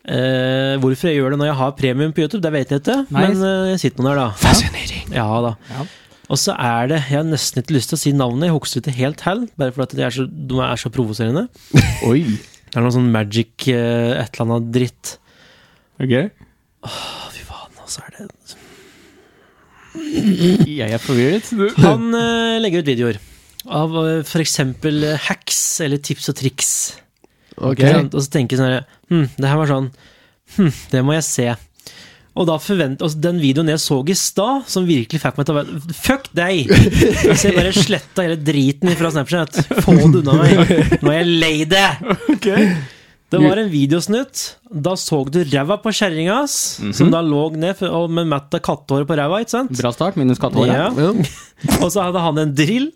Speaker 1: Eh, hvorfor jeg gjør det når jeg har premium på YouTube, det vet jeg ikke.
Speaker 3: Nei.
Speaker 1: Men eh, jeg sitter nå der, da.
Speaker 4: Fascinering.
Speaker 1: Ja da.
Speaker 3: Ja.
Speaker 1: Og så er det Jeg har nesten ikke lyst til å si navnet, jeg husker ikke helt hell, bare fordi de er så, de er så provoserende.
Speaker 3: Oi.
Speaker 1: Det er noe sånn magic eh, et eller annet dritt.
Speaker 3: Ok.
Speaker 1: Å, fy faen, og så er det
Speaker 3: Jeg er forvirret. Du.
Speaker 1: Han eh, legger ut videoer av eh, for eksempel eh, hacks eller tips og triks.
Speaker 4: Ok.
Speaker 1: Ikke sant? Og så tenker jeg sånn her, hm, det her var sånn hm, det må jeg se. Og da forvent, altså den videoen jeg så i stad, som virkelig fikk meg til å være Fuck deg! Så jeg bare sletta hele driten fra Snapchat. Få det unna meg. Nå er jeg lei det! Det var en videosnutt. Da så du ræva på kjerringa hans, som da lå ned for- og med matt av kattehår på ræva, ikke sant?
Speaker 3: Bra start, minus kattehåret.
Speaker 1: Ja.
Speaker 4: Ja.
Speaker 1: Og så hadde han en drill,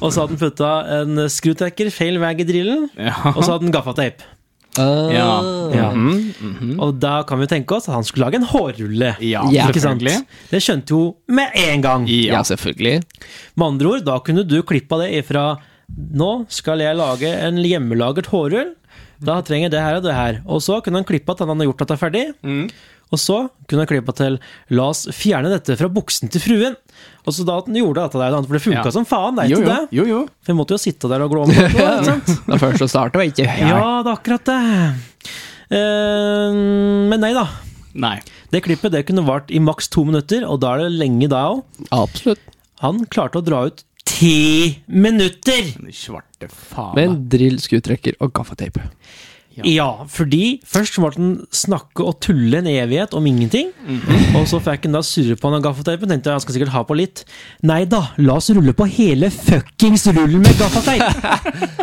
Speaker 1: og så hadde han putta en skrutacker feil vei i drillen,
Speaker 3: Ja.
Speaker 1: og så hadde han gaffateip.
Speaker 4: Ah.
Speaker 3: Ja.
Speaker 1: Ja.
Speaker 3: Mhm, mhm.
Speaker 1: Og da kan vi tenke oss at han skulle lage en hårrulle.
Speaker 3: ja,
Speaker 4: Ja.
Speaker 1: ikke sant?
Speaker 3: selvfølgelig.
Speaker 1: Det skjønte jo med en gang.
Speaker 4: ja,
Speaker 3: Ja.
Speaker 4: selvfølgelig.
Speaker 1: Med andre ord, da kunne du klippa det ifra Nå skal jeg lage en hjemmelagert hårrull. Da trenger jeg det her og det her. Og så kunne han klippa til han hadde gjort dette ferdig.
Speaker 3: Mm.
Speaker 1: Og så kunne han klippa til La oss fjerne dette fra buksen til fruen. Og så da at han gjorde dette der, for det funka
Speaker 3: Ja.
Speaker 1: som faen, det er
Speaker 3: Jo,
Speaker 1: ikke
Speaker 3: jo,
Speaker 1: det?
Speaker 3: jo,
Speaker 4: <laughs>
Speaker 3: jo.
Speaker 1: For jeg måtte jo sitte der og glå om det. ikke
Speaker 3: <laughs>
Speaker 1: sant?
Speaker 4: Da først så starter vi ikke.
Speaker 1: Ja, det er akkurat det. Eh, men nei da.
Speaker 3: Nei.
Speaker 1: Det klippet det kunne vart i maks to minutter, og da er det lenge da òg.
Speaker 4: Absolutt.
Speaker 1: Han klarte å dra ut ti minutter!
Speaker 3: Den svarte faen.
Speaker 4: Med en drill, skrutrekker og gaffateip.
Speaker 1: Ja. fordi først måtte han snakke og tulle en evighet om ingenting.
Speaker 4: Mhm.
Speaker 1: Og så fikk han da surre på han av gaffateipen. Tenkte jeg, han skal sikkert ha på litt. Nei da, la oss rulle på hele fuckings rullen med
Speaker 4: <laughs>
Speaker 1: gaffateip!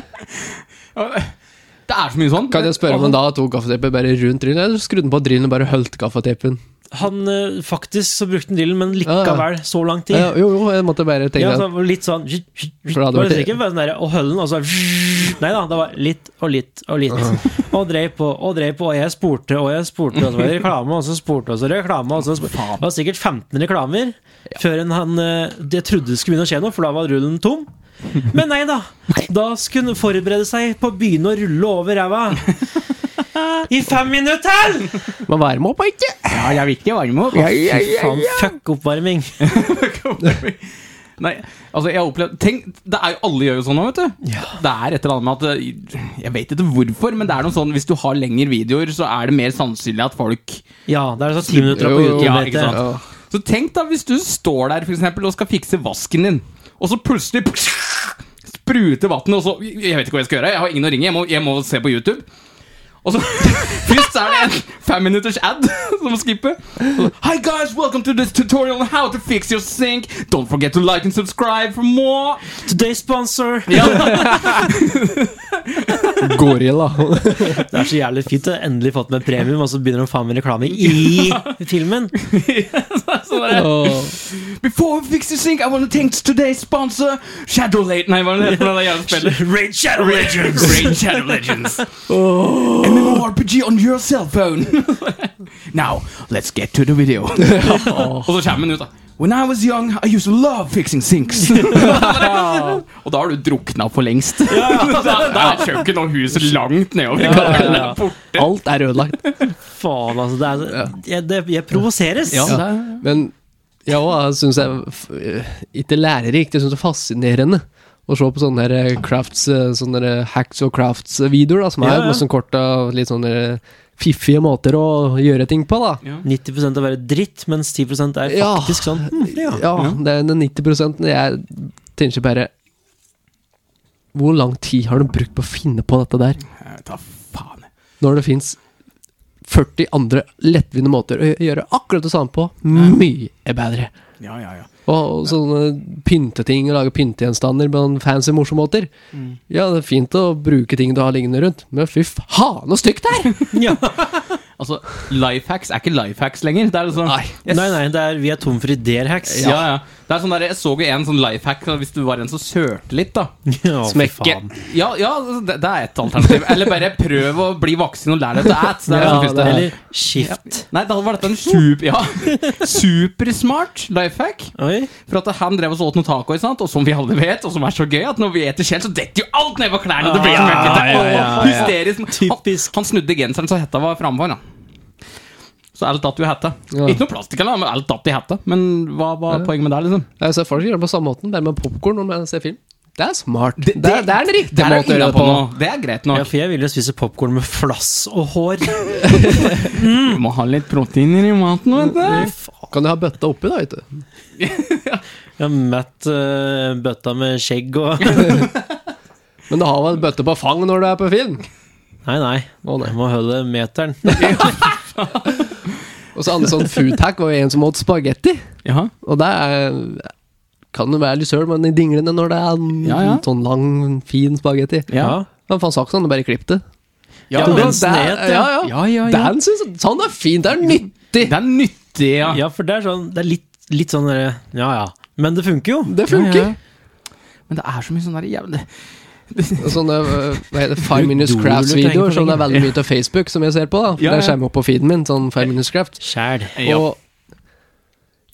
Speaker 3: Det er så mye sånn.
Speaker 4: Kan jeg spørre om han da tok gaffateipen bare rundt drillen, eller skrudde han på drillen og bare holdt gaffateipen?
Speaker 1: han eh, Faktisk så brukte han drillen, men likevel så lang tid.
Speaker 4: Ja, jo, jo, jeg måtte bare tenke
Speaker 1: Ja,
Speaker 4: at-
Speaker 1: så det var litt sånn
Speaker 4: For da hadde
Speaker 1: Bare
Speaker 4: vært-
Speaker 1: sikkert bare sånn der, Og høllen, og så Nei da, det var litt og litt og litt. <laughs> Og dreiv på og dreiv på, og jeg spurte og jeg spurte, og så var det reklame, og så spurte, og så reklame og så spurte.
Speaker 3: Faen.
Speaker 1: Det var sikkert 15 reklamer før en han eh, Jeg trodde det skulle begynne å skje noe, for da var rullen tom. Men nei
Speaker 4: <laughs>
Speaker 1: da. Da skulle han forberede seg på å begynne å rulle over ræva. I fem minutter til!
Speaker 4: Men varme opp, ikke?
Speaker 3: Ja, jeg vil ikke varme opp.
Speaker 4: Ja, ja, ja,
Speaker 1: Faen, fuck oppvarming.
Speaker 3: Nei, altså jeg har opplevd Tenk, det er jo alle gjør jo sånn nå, vet du. Det er et eller annet med at eh, Jeg vet ikke hvorfor, men det er noe sånn hvis du har lengre videoer, så er det mer sannsynlig at folk
Speaker 1: Ja, det er sånn ti minutter på
Speaker 4: Jo, jo,
Speaker 1: YouTube.
Speaker 3: Ja,
Speaker 1: vet
Speaker 3: ikke
Speaker 1: jeg.
Speaker 3: sant? Så tenk da hvis du står der for eksempel, og skal fikse vasken din, og så plutselig <laughs> spruter vannet, og så Jeg vet ikke hva jeg skal gjøre, jeg har ingen å ringe, jeg må, jeg må se på YouTube. Og så <laughs> Først er det en femminutters ad <laughs> som må skippe. Og så, Hi guys, welcome to this tutorial on how to fix your sink. Don't forget to like and subscribe for more.
Speaker 1: Today sponsor.
Speaker 4: <laughs> Gorilla.
Speaker 1: Det er så jævlig fint. Jeg har endelig fått med premium, og så begynner de faen meg reklame i filmen.
Speaker 3: Så bare, Before we fix your sink, I want to thank today's sponsor, Shadowlate. Nei, hva er det heter for det jævla spillet?
Speaker 1: <laughs> Raid Shadow Legends! Oh.
Speaker 3: Raid Shadow
Speaker 1: <laughs>
Speaker 3: Legends. MMORPG on your cell phone. <laughs> Now, let's get to the
Speaker 1: <laughs>
Speaker 3: video. Og så kommer den ut, da. When I was young, I used to love fixing
Speaker 1: <laughs>
Speaker 3: sinks. <laughs> Og da har du drukna for lengst. <laughs> Da da er kjøkkenet og huset langt nedover i kanalen. <laughs>
Speaker 1: ja.
Speaker 3: Borte.
Speaker 4: Alt er ødelagt.
Speaker 1: Faen, altså. Det er, jeg, det, jeg provoseres.
Speaker 3: Ja.
Speaker 4: Men ja, jeg syns jeg f- Ikke lærerikt, jeg syns det er fascinerende å se på sånne her eh, crafts, sånne her hacks og crafts-videoer, da, som
Speaker 1: Ja,
Speaker 4: er
Speaker 1: ja.
Speaker 4: masse kort og litt sånne eh, fiffige måter å gjøre ting på, da.
Speaker 1: 90 av være dritt, mens 10 er
Speaker 4: Ja.
Speaker 1: faktisk sånn hm, ja.
Speaker 4: Ja, det er den 90 jeg tenker bare Hvor lang tid har de brukt på å finne på dette der,
Speaker 3: Eh, Ta faen.
Speaker 4: når det fins 40 andre lettvinte måter å gjø- gjøre akkurat det samme på? Mye bedre.
Speaker 3: Ja, ja, ja.
Speaker 4: Og sånne pynteting, og lage pyntegjenstander på sånne fancy, morsomme måter. Ja, det er fint å bruke ting du har liggende rundt, men fy faen så stygt det <laughs> er!
Speaker 1: Ja.
Speaker 3: Altså, life hacks er ikke life hacks lenger. Det er liksom,
Speaker 4: Nei.
Speaker 3: Jeg
Speaker 1: Nei, nei, det er, vi er tom for ideer-hacks.
Speaker 3: Ja, ja. Det er sånn der, jeg så jo en sånn life hack hvis du var en som sølte litt, da.
Speaker 1: <laughs> Ja, fy
Speaker 4: Smekke.
Speaker 1: faen.
Speaker 3: Ja, ja altså, det, det er et alternativ. Eller bare prøv å bli voksen og lær deg å æte. Det er
Speaker 4: Ja,
Speaker 3: liksom første.
Speaker 4: det er-
Speaker 1: Eller skift.
Speaker 3: Nei, da var dette en super, ja, supersmart life hack.
Speaker 1: Oi.
Speaker 3: For at han drev og så åt noen taco, ikke sant? og som vi alle vet, og som er så gøy, at når vi eter selv, så detter jo alt ned på klærne! Det blir så
Speaker 1: Ja,
Speaker 3: mørkt.
Speaker 1: ja, ja, ja.
Speaker 3: Åh, Hysterisk.
Speaker 1: Typisk.
Speaker 3: Han, han snudde genseren så hetta var framfor, da. Så alt datt jo i hetta.
Speaker 4: Ja.
Speaker 3: Ikke noe plastikk, eller, men alt datt i hetta. Men hva var poenget med det, liksom?
Speaker 4: Jeg ser Altså, folk gjør det på samme måten, bare med popkorn når man ser film. Det er smart. Det,
Speaker 3: Det-
Speaker 4: det, er- det er den
Speaker 3: Det
Speaker 4: riktige
Speaker 3: er,
Speaker 4: måten å gjøre det
Speaker 3: innenpå
Speaker 4: på.
Speaker 3: nå. det er greit nok.
Speaker 1: Ja, for jeg ville spise popkorn med flass og hår.
Speaker 3: Du må ha litt proteiner i maten, vet
Speaker 4: Mm.
Speaker 3: du.
Speaker 4: Kan du ha bøtta oppi, da, <laughs> vet du.
Speaker 1: Jeg har mett eh, bøtta med skjegg og
Speaker 4: Men du har vel bøtte på fang når du er på film?
Speaker 1: Nei, nei.
Speaker 4: Å, nei.
Speaker 1: Jeg må holde meteren.
Speaker 4: Og så andre sånn foodhack var jo en som åt spagetti.
Speaker 3: Jaha.
Speaker 4: Og det er kan jo være litt søl, men i dinglene når det er en
Speaker 3: Ja, ja.
Speaker 4: sånn lang, fin spagetti.
Speaker 3: Ja.
Speaker 1: Ja.
Speaker 4: Men faen saksen, du bare klipp det.
Speaker 1: Ja,
Speaker 4: men
Speaker 1: mens
Speaker 4: det er-
Speaker 1: ned, ja.
Speaker 4: ja, ja.
Speaker 3: Ja, ja, ja.
Speaker 4: Den synes jeg Sånn er fint, det er nyttig!
Speaker 3: Det er nyttig, ja.
Speaker 1: Ja, for det er sånn Det er litt, litt sånn derre Ja ja. Men det funker jo.
Speaker 4: Det
Speaker 3: Ja,
Speaker 4: funker!
Speaker 3: Men det er så mye sånn der jævlig
Speaker 4: Sånne øh, hva heter det, Five
Speaker 1: Du-
Speaker 4: Minutes
Speaker 1: du trenger
Speaker 4: Crafts-videoer
Speaker 1: for
Speaker 4: som det er
Speaker 1: lenge.
Speaker 4: veldig mye av Facebook, som jeg ser på. da
Speaker 3: Ja,
Speaker 4: Der
Speaker 3: ja.
Speaker 4: skjermer opp på feeden min, sånn Five Minutes Craft.
Speaker 1: Sjæl.
Speaker 3: Ja.
Speaker 4: Og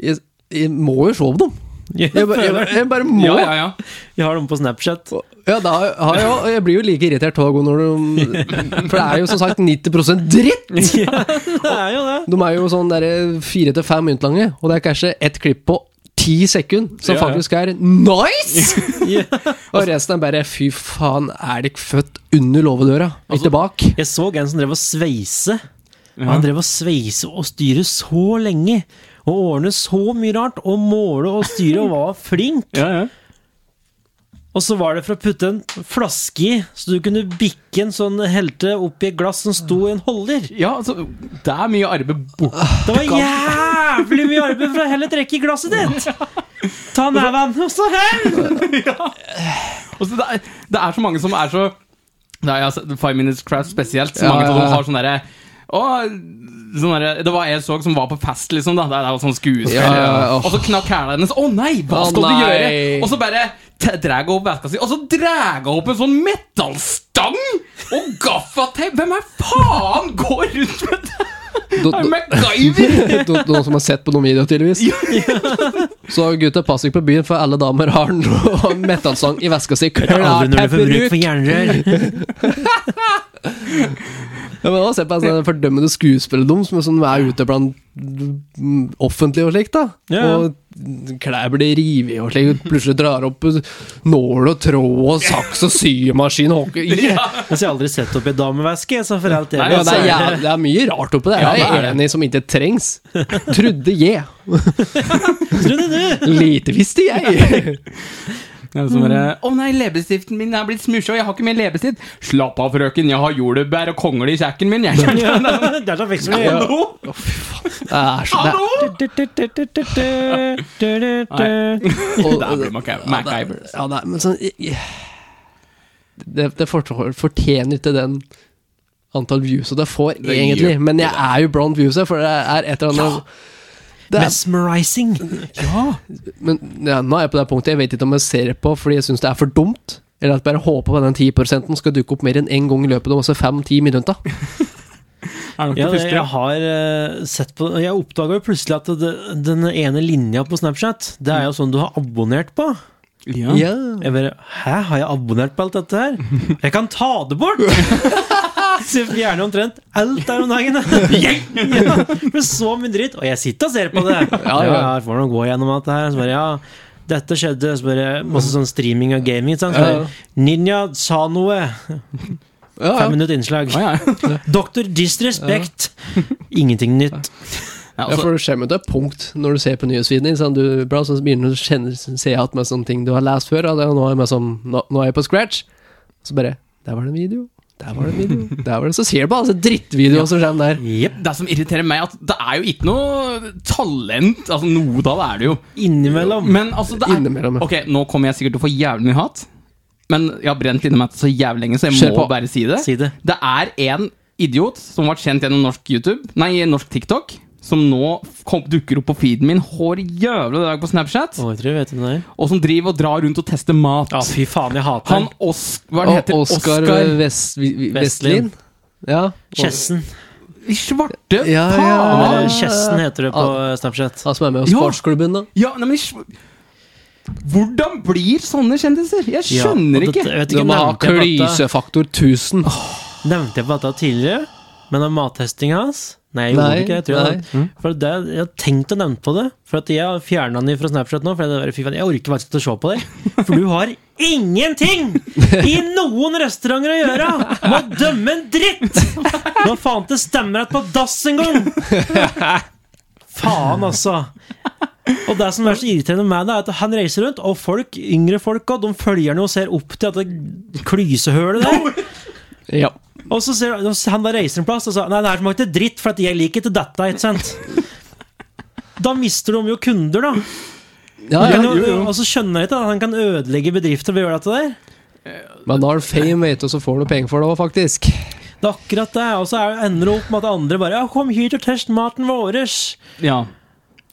Speaker 4: jeg, jeg må jo se på dem!
Speaker 1: Jeg,
Speaker 4: Jeg, ba- jeg,
Speaker 1: føler-
Speaker 4: ba- jeg bare må!
Speaker 3: Ja,
Speaker 4: Ja,
Speaker 3: ja, ja.
Speaker 1: jeg har dem på
Speaker 4: <laughs>
Speaker 1: Snapchat.
Speaker 4: da har jeg, jo- jeg blir jo like irritert hver gang når de For det er jo som sagt 90 dritt!
Speaker 1: Det er jo det.
Speaker 4: De er jo sånn der fire til fem minutter lange, og det er kanskje ett klipp på ti sekunder som
Speaker 1: Ja, ja.
Speaker 4: faktisk er
Speaker 1: <laughs>
Speaker 4: nice!
Speaker 1: Ja.
Speaker 4: og resten er bare fy faen, er dere født under låvedøra?
Speaker 1: Altså-
Speaker 4: Ikke bak?
Speaker 1: Jeg så en som drev og sveise. Han drev og sveise og styre så lenge. Og ordne så mye rart. Og måle og styre og var flink.
Speaker 3: ja, ja.
Speaker 1: Og så var det for å putte en flaske i, så du kunne bikke en sånn helte opp i et glass som sto i en holder.
Speaker 3: ja altså, det er mye arbeid borte.
Speaker 1: Det var jævlig mye arbeid for å heller trekke i glasset ditt! Ta neven, og så hell!
Speaker 3: Altså, det, er, det er så mange som er så Nei, altså, Five Minutes Craft spesielt. Så
Speaker 4: Ja,
Speaker 3: mange
Speaker 4: ja,
Speaker 3: som
Speaker 4: ja.
Speaker 3: har sånn derre Og sånn der, det var en jeg så som var på fest, liksom. da Det er jo sånn skuespill.
Speaker 4: Ja, ja, ja.
Speaker 3: Og så knakk hæla hennes. Å nei, hva
Speaker 4: Å,
Speaker 3: skal du
Speaker 4: nei.
Speaker 3: gjøre? Og så bare t- dreg hun opp veska si, og så dreg hun opp en sånn metallstang! Og gaffateip! Hvem er faen går rundt med det?
Speaker 4: Do-
Speaker 3: Er
Speaker 4: do-
Speaker 3: det
Speaker 4: <laughs>
Speaker 3: MacGyver?
Speaker 4: No- Noen som har sett på noen videoer, tydeligvis. Så gutta, pass dere på byen, for alle damer har noe <laughs> metallsang i veska si.
Speaker 1: Det er aldri når du får bruk for jernrør.
Speaker 4: Ja, men da Se på en sånn fordømmende skuespillerdom som er sånn er ute blant mm, offentlige og slikt. da
Speaker 1: Ja, ja.
Speaker 4: Og klær blir revet i og slikt. Plutselig drar opp nål og tråd og saks og symaskin. og hockey.
Speaker 1: Mens <laughs> jeg har aldri sett opp i damevæske, så for alt jeg
Speaker 3: Nei,
Speaker 4: Ja,
Speaker 1: vet,
Speaker 4: det,
Speaker 1: så
Speaker 4: er
Speaker 1: er
Speaker 4: jæv-
Speaker 1: det
Speaker 4: det er mye rart oppi der.
Speaker 3: Ja,
Speaker 4: jeg
Speaker 3: det
Speaker 4: er
Speaker 3: er
Speaker 4: enig som ikke trengs. Trodde jeg.
Speaker 1: Trodde du!
Speaker 4: Lite visste jeg.
Speaker 3: Ja, så bare, Å nei, leppestiften min er blitt smusja, og jeg har ikke mer leppestift. Slapp av, frøken, jeg har jordbær og kongle i kjekken min. Jeg
Speaker 1: <laughs> Ja, det er da vekst med
Speaker 3: Hallo!
Speaker 4: Det er så, det er,
Speaker 3: Hallo!
Speaker 1: det.
Speaker 4: og-
Speaker 3: Der blir Mac- MacGyver.
Speaker 4: Ja, det er, men sånn jeg- jeg- Det, det fort- fortjener ikke den antall views det får,
Speaker 3: gjør
Speaker 4: egentlig.
Speaker 3: ikke
Speaker 4: Men jeg er jo blond views, for det er et eller annet det er,
Speaker 1: Mesmerizing.
Speaker 4: Men ja, nå er jeg på det punktet. Jeg vet ikke om jeg ser på fordi jeg syns det er for dumt. Eller at jeg bare håper på den 10 skal dukke opp mer enn én gang i løpet av altså fem-ti minutter.
Speaker 3: Er nok
Speaker 1: Ja,
Speaker 3: det
Speaker 1: det,
Speaker 3: første,
Speaker 1: jeg har eh, sett på Jeg oppdaga jo plutselig at det, den ene linja på Snapchat, det er jo sånn du har abonnert på.
Speaker 3: ja.
Speaker 4: Ja.
Speaker 1: Jeg bare Hæ, har jeg abonnert på alt dette her? Jeg kan ta det bort! <laughs> Så jeg fjerner omtrent alt der om dagen. <laughs> ja, med så mye dritt. Og jeg sitter og ser på det.
Speaker 4: Ja, ja.
Speaker 1: jeg får nå gå gjennom alt det her. Så bare, ja, dette skjedde. Så bare masse sånn streaming og gaming. ikke sant? Så
Speaker 4: Ja.
Speaker 1: bare, Ninja sa noe.
Speaker 4: Ja,
Speaker 1: Fem
Speaker 4: ja.
Speaker 1: minutter innslag.
Speaker 3: Ja, ja.
Speaker 1: Doktor Disrespect. <laughs> Ingenting nytt.
Speaker 3: Ja,
Speaker 4: ja,
Speaker 3: altså,
Speaker 4: for det skjer med et punkt når du ser på nyhetsvideoen din. Sånn, du, bra, så begynner du å kjenne, se igjen med sånne ting du har lest før. Og det, og nå, er jeg med sånn, nå, nå er jeg på scratch. Så bare Der var det en video. Der var det en
Speaker 3: <laughs>
Speaker 4: video. Der var det. Så ser du bare altså, drittvideoer som kommer der.
Speaker 1: Jepp.
Speaker 3: det som irriterer meg, at det er jo ikke noe talent. Altså, noe da er det jo.
Speaker 1: Innimellom.
Speaker 3: Men altså, det er
Speaker 4: Innimellom.
Speaker 3: Ok, nå kommer jeg sikkert til å få jævlig mye hat, men jeg har brent inni meg så jævlig lenge, så jeg
Speaker 4: Kjør
Speaker 3: må
Speaker 4: på.
Speaker 3: bare si det.
Speaker 1: Si det.
Speaker 3: Det er en idiot som ble kjent gjennom norsk YouTube Nei, norsk TikTok Som nå kom, dukker opp på feeden min Hår jævla dag på Snapchat
Speaker 1: Å, jeg tror jeg vet hvem det er.
Speaker 3: Og som driver og drar rundt og tester mat
Speaker 1: Ja, fy faen, jeg hater
Speaker 3: Han
Speaker 1: han.
Speaker 3: Os Hva er det
Speaker 4: Og
Speaker 3: heter?
Speaker 4: Oskar Vest, Vi- Vi-
Speaker 1: Vestlin.
Speaker 4: Vestlin. Ja.
Speaker 1: Kjessen.
Speaker 3: I svarte
Speaker 4: Ja, ja,
Speaker 3: faen!
Speaker 4: ja.
Speaker 1: Eller Kjessen heter det på Snapchat.
Speaker 4: Han som er med i
Speaker 3: Ja.
Speaker 4: sportsklubben, da.
Speaker 3: Ja, nei, men i sv- Hvordan blir sånne kjendiser? Jeg skjønner
Speaker 1: Ja, og
Speaker 3: ikke
Speaker 1: dette- jeg vet
Speaker 4: Du
Speaker 1: ikke,
Speaker 4: må ha
Speaker 1: nevnte jeg på dette-
Speaker 4: klysefaktor 1000.
Speaker 1: Nevnte jeg på dette tidligere? Men om mattestinga hans? Nei, jeg gjorde
Speaker 4: Nei,
Speaker 1: ikke det, jeg tror jeg. Mm. For det, jeg har tenkt å nevne på det. For at jeg har fjerna den fra Snapchat nå. For jeg, bare, fy faen, jeg orker faktisk ikke å se på det. For du har ingenting i noen restauranter å gjøre! Må dømme en dritt! Nå faen til stemmerett på dass en gang! Faen, altså. Og det som er så irriterende med det, er at han reiser rundt, og folk, yngre folk òg, de følger han jo og ser opp til dette klysehølet der.
Speaker 4: Ja.
Speaker 1: Og så ser du, han da reiser en plass og sa Nei, det her smakte dritt, for at jeg liker ikke dette. Ikke
Speaker 3: <laughs>
Speaker 1: sant? Da mister de jo kunder, da.
Speaker 4: Ja, ja.
Speaker 1: Men- Og så skjønner jeg ikke at han kan ødelegge bedrifter ved å gjøre dette der.
Speaker 4: Men da har du fame, vet du, og så får du penger for det òg, faktisk.
Speaker 1: Det er akkurat det. Og så er- ender det opp med at andre bare Ja, kom hit og test maten våres.
Speaker 3: Ja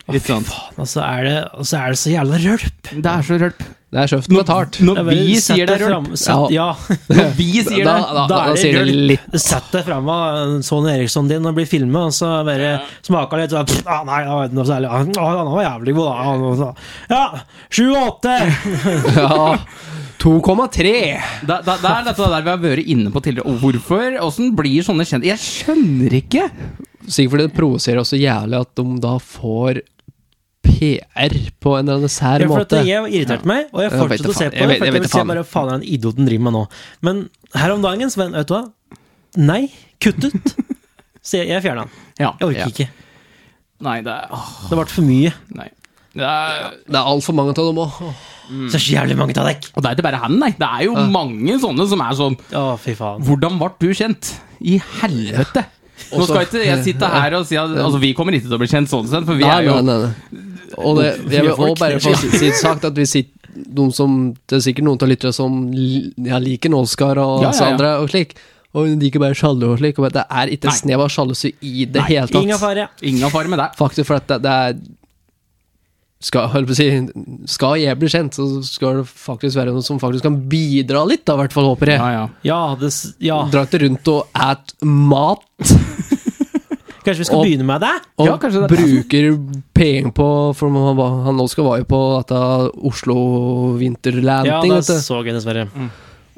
Speaker 3: Litt sånn
Speaker 1: Og så er det, og så, er det så jævla rølp.
Speaker 3: Det er så rølp
Speaker 4: Det er kjøften betalt.
Speaker 1: Det er
Speaker 3: Når
Speaker 1: bare-
Speaker 3: vi
Speaker 1: sett
Speaker 3: sier det er rølp
Speaker 1: fram- sett- Ja,
Speaker 3: Når vi sier det
Speaker 4: Da- da- da sier det
Speaker 1: rølp.
Speaker 4: litt
Speaker 1: Sett deg fram av Sony Eriksson din og bli filma, og så bare smaker litt sånn «Pff, ah, Nei, det var ikke noe særlig. Ah, Han var jævlig god, da. Han var så- Ja, sju og
Speaker 4: <laughs>
Speaker 1: åtte!
Speaker 3: <laughs>
Speaker 4: Ja. 2,3.
Speaker 3: Det, det, det er dette der vi har vært inne på tidligere. Og hvorfor? Åssen blir sånne kjent? Jeg skjønner ikke!
Speaker 4: Sikkert fordi det provoserer også jævlig at de da får PR på en eller annen sær
Speaker 1: Ja, for at
Speaker 4: måte.
Speaker 1: jeg irriterte meg, og jeg
Speaker 4: Jeg vet
Speaker 1: fortsatte å se på
Speaker 4: faen. Jeg
Speaker 1: det.
Speaker 4: vet-
Speaker 1: For at
Speaker 4: jeg vet
Speaker 1: jeg vil se
Speaker 4: faen.
Speaker 1: bare faen er den idioten driver med nå. Men her om dagen, Sven, vet du hva? Nei. Kutt <laughs> ut. Så jeg, jeg fjerna den.
Speaker 3: Ja.
Speaker 1: Jeg orker
Speaker 4: Ja.
Speaker 1: ikke.
Speaker 3: Nei, det er åh,
Speaker 1: Det ble for mye.
Speaker 3: Nei. Det er,
Speaker 4: Det er altfor mange av dem òg. Mm.
Speaker 1: Så er det så jævlig mange av deg.
Speaker 3: og det er ikke bare han, nei. Det er
Speaker 1: Ah.
Speaker 3: jo mange sånne som er sånn
Speaker 1: Å, fy faen.
Speaker 3: Hvordan ble du kjent? I helvete! Nå
Speaker 4: Også-
Speaker 3: skal ikke jeg sitte her og si at altså, vi kommer ikke til å bli kjent sånn sett, for vi
Speaker 4: Nei,
Speaker 3: er jo
Speaker 4: nei, nei, nei. Og det, jeg vil
Speaker 1: Fire folk.
Speaker 4: også bare få si- si sagt at vi sitter noen som, Det er sikkert noen av lyttere som li- ja, liker en Oscar og
Speaker 3: Ja, ja,
Speaker 4: altså
Speaker 3: ja.
Speaker 4: andre og slik. Og hun liker bare sjalu og slik. Og det er ikke
Speaker 3: Nei.
Speaker 4: et snev av sjalusi i det
Speaker 3: Nei,
Speaker 4: hele tatt.
Speaker 1: Inga fare.
Speaker 3: Ingen fare med deg.
Speaker 4: Faktisk for at det, det er skal, holdt på å si, skal jeg bli kjent, så skal det faktisk være noen som faktisk kan bidra litt, da, i hvert fall, håper jeg.
Speaker 3: Ja, ja.
Speaker 1: Ja, det, s- ja,
Speaker 4: Dra ikke rundt og et mat,
Speaker 1: kanskje vi skal
Speaker 4: Og-
Speaker 1: begynne med det?
Speaker 4: og
Speaker 3: Ja, kanskje det-
Speaker 4: bruker penger på For man, var- han nå skal være på dette Oslo
Speaker 1: Ja,
Speaker 4: Winterlanding,
Speaker 1: det
Speaker 4: vet du.
Speaker 1: så jeg dessverre.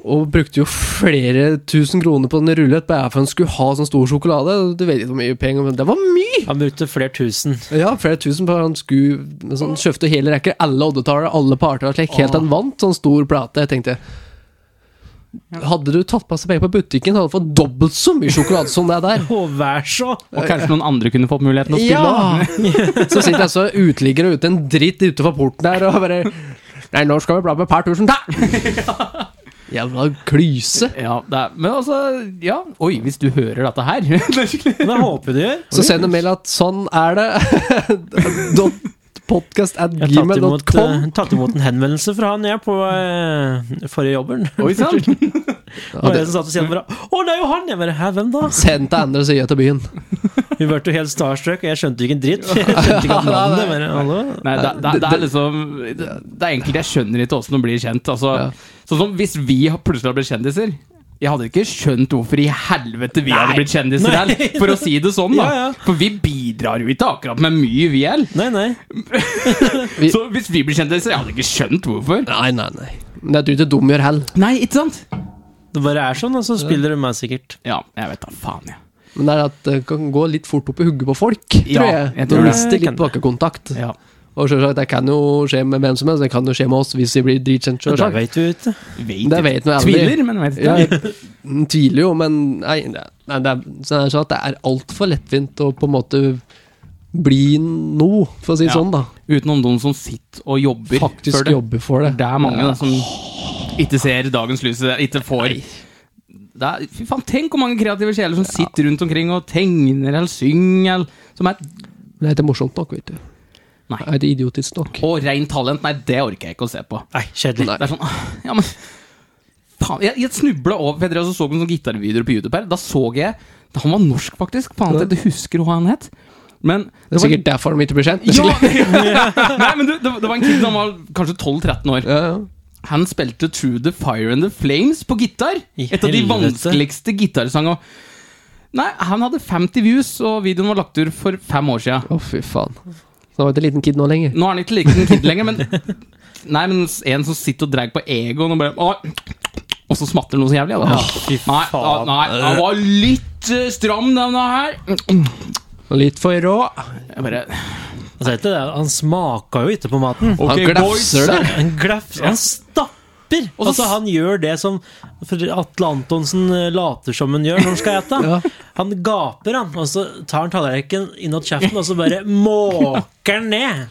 Speaker 4: Og brukte jo flere tusen kroner på den rullet bare for han skulle ha sånn stor sjokolade. Du vet ikke hvor mye penger, men det var mye!
Speaker 1: Han brukte flere tusen.
Speaker 4: Ja, flere tusen på han skulle men sånn, kjøpte hele rekker, alle oddetaler, alle parter og slik, helt til han vant sånn stor plate. Jeg tenkte Hadde du tatt masse penger på butikken, hadde du fått dobbelt så mye sjokolade som det der.
Speaker 1: Å, vær så!
Speaker 3: Og kanskje noen andre kunne fått muligheten å spille. da.
Speaker 4: Ja! <laughs> Så sitter jeg så uteligger og ute en dritt utenfor porten der og bare Nei, nå skal vi bla med et par tusen
Speaker 1: <laughs>
Speaker 4: til! Jævla klyse.
Speaker 3: Ja, det er, men altså, ja Oi, hvis du hører dette her <laughs> det er skikkelig-
Speaker 1: Men jeg håper du gjør.
Speaker 4: Så send en mail at sånn er det. <laughs> Podcast at
Speaker 1: Jeg har tatt imot,
Speaker 4: gmail.com.
Speaker 1: eh, <laughs> tatt imot en henvendelse fra han jeg på eh, forrige jobben.
Speaker 3: Oi sann!
Speaker 1: Det var en som satt og sa bare 'Å, det er jo han!' Jeg bare 'Hæ, hvem da?'
Speaker 4: Send til andre sida til byen.
Speaker 1: Vi ble jo helt starstruck, og jeg skjønte jo ikke en dritt. Jeg skjønte ikke at navnet men, hallo?
Speaker 3: Nei, det, det, det er liksom Det det er enkelte jeg skjønner ikke åssen de blir kjent. Altså,
Speaker 4: Ja.
Speaker 3: Sånn som hvis vi har- plutselig hadde blitt kjendiser. Jeg hadde ikke skjønt hvorfor i helvete vi hadde
Speaker 1: Nei.
Speaker 3: blitt kjendiser
Speaker 1: Nei.
Speaker 3: her, for å si det sånn, <laughs> da.
Speaker 1: Ja, ja.
Speaker 3: For vi bidrar jo ikke akkurat med mye, vi heller.
Speaker 1: Nei, nei.
Speaker 4: Vi-
Speaker 3: Så hvis vi blir kjendiser, jeg hadde ikke skjønt hvorfor.
Speaker 4: Nei, nei, nei. Men det er du ikke dum gjør hell.
Speaker 3: Nei, ikke sant?
Speaker 1: Det bare er sånn, og så spiller du meg sikkert.
Speaker 3: Ja, jeg vet da faen, jeg.
Speaker 4: Men det er at det kan gå litt fort opp i hugget på folk,
Speaker 3: Ja,
Speaker 4: tror jeg.
Speaker 3: jeg
Speaker 4: jeg
Speaker 3: tror
Speaker 4: tror
Speaker 3: det.
Speaker 4: mister litt bakkekontakt.
Speaker 3: Ja.
Speaker 4: Og selvsagt, det kan jo skje med hvem som helst. Det kan jo skje med oss hvis vi blir dritkjent,
Speaker 1: Men det
Speaker 4: selvsagt.
Speaker 1: vet du jo ikke.
Speaker 3: Vet,
Speaker 4: Det vet nå aldri.
Speaker 3: Tviler, men vet
Speaker 4: Ja,
Speaker 3: ikke.
Speaker 4: jeg tviler jo, men nei, det, nei, det er sånn er sånn at det er altfor lettvint å på en måte bli noe, for å si det
Speaker 3: Ja.
Speaker 4: sånn, da.
Speaker 3: Utenom de som sitter og jobber. for
Speaker 4: Faktisk
Speaker 3: det.
Speaker 4: jobbe for det.
Speaker 3: Det er mange da, som ikke ser dagens lys, ikke får det er, Fy faen, tenk hvor mange kreative sjeler som sitter rundt omkring og tegner eller synger eller, som er,
Speaker 4: Men det er ikke morsomt nok, vet du.
Speaker 3: Nei.
Speaker 4: Det er ikke idiotisk nok.
Speaker 3: Og rent talent, nei, det orker jeg ikke å se på.
Speaker 1: Nei, kjedelig.
Speaker 3: Det er sånn, ah, ja, men faen, Jeg, jeg snubla over for jeg drev og så på noen gitarvideoer på YouTube her. Da så jeg Han var norsk, faktisk. Faen, jeg ikke husker hva han het. Men
Speaker 4: Det er sikkert derfor de ikke blir kjent.
Speaker 3: ja,
Speaker 4: Ja.
Speaker 3: <laughs> Nei, men du, det, det var en kid, han var kanskje 12-13 år.
Speaker 4: <laughs> Ja, ja.
Speaker 3: Han spilte True the Fire and the Flames på gitar.
Speaker 1: I
Speaker 3: Et av de
Speaker 1: helvete.
Speaker 3: vanskeligste gitarsangene. Nei, han hadde 50 views, og videoen var lagt ut for fem år siden.
Speaker 4: Å, fy faen. Så han var ikke liten kid nå lenger.
Speaker 3: Nå er han ikke like en kid lenger, men Nei, men en som sitter og drar på egoen og bare «Åh!» Og så smatter han noe så jævlig. Ja.
Speaker 1: fy
Speaker 3: Nei,
Speaker 1: faen.
Speaker 3: nei, han var litt eh, stram, denne her.
Speaker 4: Litt for rå.
Speaker 3: Jeg bare
Speaker 1: Altså, vet du det, han smaka jo ikke på maten.
Speaker 3: «Ok,
Speaker 4: han
Speaker 3: boys».
Speaker 4: glefser det.
Speaker 1: Han glefser. Han stapper!
Speaker 3: Og så-
Speaker 1: Altså, han gjør det som for Atle Antonsen eh, later som han gjør når han skal ete.
Speaker 4: Ja.
Speaker 1: Han gaper, han, og så tar han tallerkenen innat kjeften og så bare måker den ned.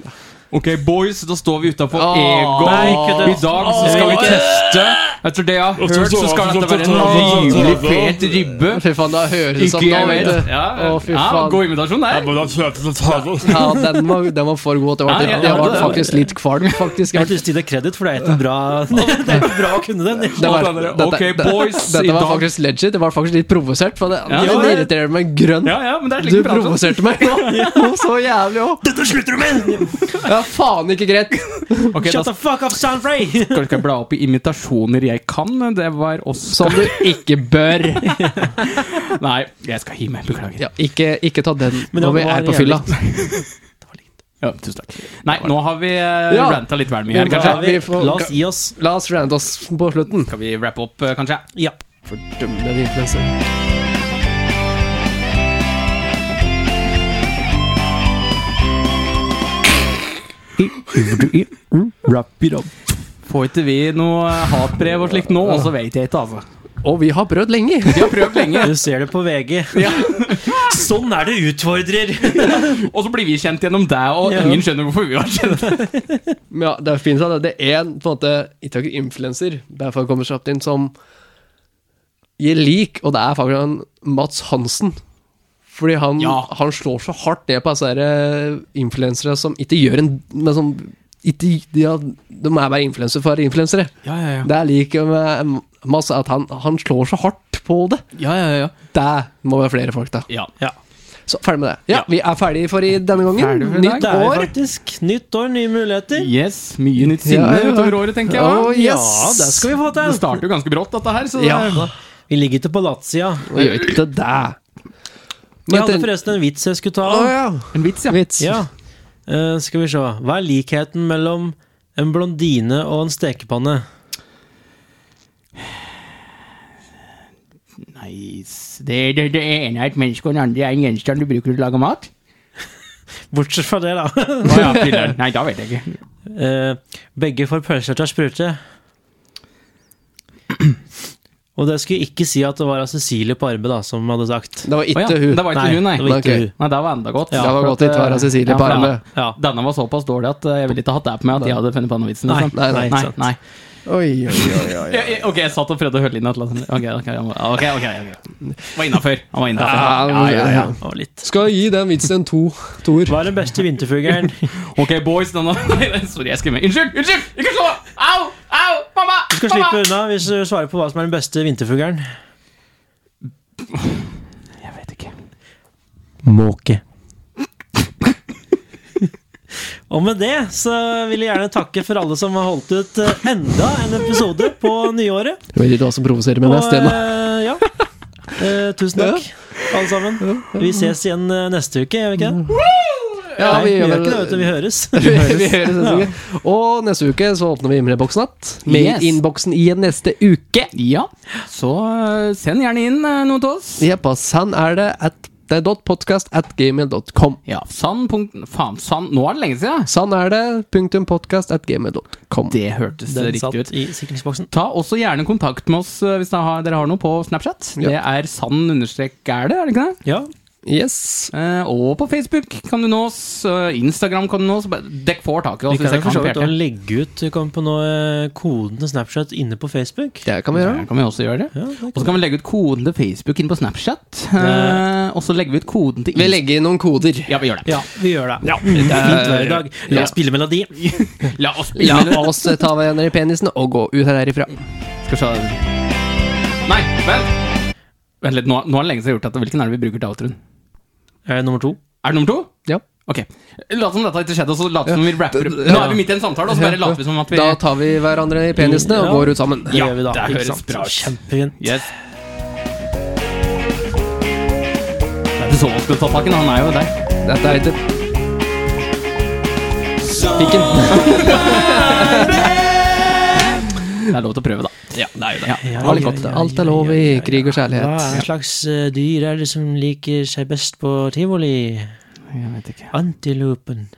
Speaker 3: Ok, boys, da står vi utafor
Speaker 4: Åh,
Speaker 1: nei,
Speaker 3: Ego.
Speaker 1: kødder.
Speaker 3: I dag så skal vi
Speaker 1: Åh.
Speaker 3: teste. Etter det jeg har hørt, så skal dette være en rimelig fet ribbe.
Speaker 4: Fy faen, da høres det
Speaker 3: Ikke
Speaker 4: sånn
Speaker 3: jeg
Speaker 4: ut.
Speaker 3: vet. Ja,
Speaker 4: Å, fy
Speaker 3: ja,
Speaker 4: faen.
Speaker 3: god imitasjon der.
Speaker 2: Nei,
Speaker 4: Ja, den var, den var for god. at Jeg
Speaker 3: Ja,
Speaker 4: var,
Speaker 3: ja,
Speaker 4: jeg
Speaker 3: ja,
Speaker 4: var
Speaker 3: det-
Speaker 4: faktisk litt kvalm,
Speaker 3: <laughs>
Speaker 4: faktisk.
Speaker 1: Jeg har
Speaker 4: Jeg
Speaker 1: ikke lyst til å gi deg kreditt, for det er ikke bra <laughs> Det er ikke bra å kunne den.
Speaker 4: Det var,
Speaker 3: Ok,
Speaker 4: dette,
Speaker 3: boys, i
Speaker 4: <laughs> dette var
Speaker 3: dag-
Speaker 4: faktisk legit. Det var faktisk litt provosert. For det,
Speaker 3: Ja,
Speaker 4: den
Speaker 3: ja.
Speaker 4: irriterer meg grønn.
Speaker 3: Ja, ja, men det er
Speaker 4: Du
Speaker 3: slik vi prater.
Speaker 4: provoserte meg nå,
Speaker 3: <laughs>
Speaker 4: nå så jævlig òg.
Speaker 1: Dette slutter du med!
Speaker 4: Ja, faen ikke greit.
Speaker 3: Ok, da
Speaker 1: Shut the fuck up, Sound Frey!
Speaker 3: skal jeg bla opp i imitasjoner jeg kan. Det var også
Speaker 4: Som du ikke bør.
Speaker 3: <laughs> Nei, jeg skal gi meg. Beklager.
Speaker 4: Ja, ikke, ikke ta den
Speaker 1: Men det
Speaker 4: når vi
Speaker 1: var
Speaker 4: er på
Speaker 1: jævlig.
Speaker 4: fylla.
Speaker 3: Ja, tusen takk. Nei, nå har vi uh,
Speaker 4: Ja.
Speaker 3: ranta litt vel mye her,
Speaker 1: Da
Speaker 3: kanskje.
Speaker 1: har vi,
Speaker 4: vi får-
Speaker 1: la oss gi oss.
Speaker 4: La oss rante oss på slutten.
Speaker 3: Skal vi wrappe opp, eh, kanskje?
Speaker 1: Ja.
Speaker 4: Fordømmende influenser.
Speaker 3: Får ikke vi noe hatbrev og slikt nå, og så vet jeg ikke, altså.
Speaker 4: Og vi har prøvd lenge.
Speaker 3: Vi har prøvd lenge,
Speaker 1: Du ser det på VG. Sånn er det utfordrer!
Speaker 3: og så blir vi kjent gjennom deg, og
Speaker 1: Ja.
Speaker 3: ingen skjønner hvorfor vi var kjent.
Speaker 4: Men Ja, det finnes at det er en på en måte ikke akkurat influenser, derfor kommer kjapt inn som gir lik, og det er faktisk han Mats Hansen. Fordi han,
Speaker 3: Ja.
Speaker 4: han slår så hardt ned på disse her, eh, influensere som ikke gjør en men som, ikke, ja, De er eh, bare influensere for influensere.
Speaker 3: Ja, ja, ja.
Speaker 4: Det er like med Mats at han, han slår så hardt på det.
Speaker 3: Ja, ja, ja.
Speaker 4: Det må være flere folk, da.
Speaker 3: ja.
Speaker 1: Ja.
Speaker 4: Så ferdig med det. Ja,
Speaker 3: Ja.
Speaker 4: Vi er ferdige for i denne gangen.
Speaker 3: Ferdig for i dag.
Speaker 4: Nytt
Speaker 1: Det er vi
Speaker 4: år.
Speaker 1: faktisk nytt år, nye muligheter.
Speaker 3: Yes, mye nytt sinne
Speaker 4: Ja, ja.
Speaker 3: utover året, tenker jeg. da.
Speaker 4: Å,
Speaker 1: Ja,
Speaker 4: yes.
Speaker 1: det skal vi få
Speaker 3: Det
Speaker 1: til.
Speaker 3: starter jo ganske brått, dette her. Så
Speaker 4: Ja.
Speaker 3: det er-
Speaker 1: Vi ligger ikke på latsida.
Speaker 4: Og gjør ikke det.
Speaker 1: Jeg hadde
Speaker 4: den-
Speaker 1: forresten en vits jeg skulle
Speaker 4: Å
Speaker 1: ta.
Speaker 4: ja.
Speaker 3: en vits, ja.
Speaker 4: Vits.
Speaker 1: Ja. Eh, skal vi se. Hva er likheten mellom en blondine og en stekepanne?
Speaker 3: Nice. Det, det, det ene er et menneske, og den andre er en gjenstand du bruker til å lage mat.
Speaker 1: Bortsett fra det, da. <laughs>
Speaker 3: Å, ja, filler'n. Nei, da vet jeg ikke.
Speaker 1: Eh, begge får pølser til å sprute. Og det skulle jeg ikke si at det var av Cecilie Parme da, som hadde sagt.
Speaker 4: Det var ikke
Speaker 3: Å, ja.
Speaker 4: hun.
Speaker 3: Det var ikke hun, nei.
Speaker 1: det var ikke
Speaker 4: Ok.
Speaker 1: hun.
Speaker 3: Nei, det var enda godt.
Speaker 1: Ja,
Speaker 4: det var
Speaker 3: for
Speaker 4: godt
Speaker 3: at,
Speaker 4: ikke var av
Speaker 3: eh,
Speaker 4: Cecilie
Speaker 3: ja, for
Speaker 4: Parme.
Speaker 3: den-
Speaker 1: Ja.
Speaker 3: Denne var såpass dårlig at eh, jeg ville ikke hatt det her på meg at jeg hadde funnet på denne vitsen.
Speaker 1: Nei,
Speaker 3: liksom.
Speaker 1: nei, nei,
Speaker 3: nei,
Speaker 1: ikke sant.
Speaker 3: nei.
Speaker 4: Oi, oi, oi, oi.
Speaker 3: Jeg, jeg, ok, jeg satt og prøvde å høre inn et eller annet. liksom. Ok, ok, ja, ok. ok, ok. Var innafor. Han var innafor. Ja, ja, ja,
Speaker 1: Det var litt.
Speaker 4: Skal gi den vitsen en to toer.
Speaker 1: Hva er den beste vinterfuglen?
Speaker 3: Ok, boys. Denne. Nei, <laughs> Sorry, jeg skremmer. Unnskyld! Unnskyld! Ikke slå! meg! Au! Au! Mamma!
Speaker 1: Du skal
Speaker 3: mamma!
Speaker 1: slippe unna hvis du svarer på hva som er den beste vinterfuglen.
Speaker 3: Jeg vet ikke.
Speaker 1: Måke. Og med det så vil jeg gjerne takke for alle som har holdt ut eh, enda en episode på nyåret.
Speaker 4: Jeg vet ikke hva som provoserer meg mest.
Speaker 1: Og,
Speaker 4: Ennå.
Speaker 1: eh, ja. Eh, tusen takk, alle sammen. Vi ses igjen eh, neste uke, gjør vi ikke det?
Speaker 4: Ja,
Speaker 1: Nei, vi gjør ikke det, vet du.
Speaker 4: vel-
Speaker 1: Vi høres.
Speaker 4: <laughs> vi høres neste uke. Og neste uke så åpner vi innboksen igjen. Med
Speaker 3: Yes.
Speaker 4: innboksen igjen neste uke.
Speaker 3: Ja, så eh, send gjerne inn eh, noe til oss.
Speaker 4: Jepp, ass. Sånn er det. At, det er podcast at gmail.com.
Speaker 3: Ja, sann punkt... Faen, sann Nå er det lenge siden!
Speaker 4: Sånn er det. Punktum podcast at gmail.com.
Speaker 3: Det hørtes
Speaker 1: Den
Speaker 3: riktig ut.
Speaker 1: satt i sikringsboksen.
Speaker 3: Ta også gjerne kontakt med oss eh, hvis dere har, dere har noe på Snapchat.
Speaker 4: Ja.
Speaker 3: Det er sann understrek er det, er det ikke det?
Speaker 1: Ja.
Speaker 4: Yes.
Speaker 3: Eh, og på Facebook kan du nå oss. eh, Instagram kan du nå oss. Bare- Dere får tak i oss
Speaker 1: Vi
Speaker 3: altså,
Speaker 1: kan jo
Speaker 3: hvis dere
Speaker 1: for
Speaker 3: kan
Speaker 1: så vidt
Speaker 3: på
Speaker 1: også
Speaker 3: hjertet.
Speaker 1: legge ut kom på noe, eh, koden til Snapchat inne på Facebook.
Speaker 4: Det kan vi
Speaker 3: Der
Speaker 4: gjøre.
Speaker 3: kan vi også gjøre det.
Speaker 1: Ja, det er
Speaker 3: Og så kan vi legge ut koden til Facebook inn på Snapchat. Eh, og så legger vi ut koden til
Speaker 4: Vi
Speaker 3: Inst-
Speaker 4: legger inn noen koder.
Speaker 3: Ja, vi gjør det. Eh,
Speaker 1: Ja, vi gjør det. Mm, det er fint vær i dag. La
Speaker 4: Ja.
Speaker 1: oss spille melodi.
Speaker 3: La oss
Speaker 4: La oss ta hverandre i penisen og gå ut herifra.
Speaker 3: Skal vi se Nei, vent! Vent litt, nå, nå er det lenge siden jeg har gjort dette. Hvilken er det vi bruker til outroen?
Speaker 1: Eh, Nummer to.
Speaker 3: Er det nummer to?
Speaker 4: Ja.
Speaker 3: Ok. Lat som dette ikke skjedde, og så lat som vi rapper.
Speaker 4: Ja.
Speaker 3: Nå er vi midt i en samtale, og så bare later vi som at vi
Speaker 4: Da tar vi hverandre i penisene og
Speaker 1: Ja.
Speaker 4: går ut sammen.
Speaker 1: Det
Speaker 3: Ja,
Speaker 1: gjør vi da.
Speaker 3: det
Speaker 1: ikke
Speaker 3: høres
Speaker 1: sant?
Speaker 3: bra ut.
Speaker 1: Kjempefint.
Speaker 3: Yes. Det er ikke så vanskelig å ta tak i, han er jo der.
Speaker 4: Dette heter Fikken.
Speaker 3: Det er lov til å prøve, da. Ja, det er jo det.
Speaker 1: Ja,
Speaker 3: var litt
Speaker 1: ja,
Speaker 3: godt.
Speaker 1: ja,
Speaker 4: Alt
Speaker 1: ja,
Speaker 4: er lov
Speaker 1: ja,
Speaker 4: i
Speaker 1: ja, ja.
Speaker 4: krig og
Speaker 1: Hva
Speaker 4: kjærlighet.
Speaker 1: er slags eh, dyr er det som liker seg best på tivoli?
Speaker 3: Jeg vet ikke.
Speaker 1: Antilopen.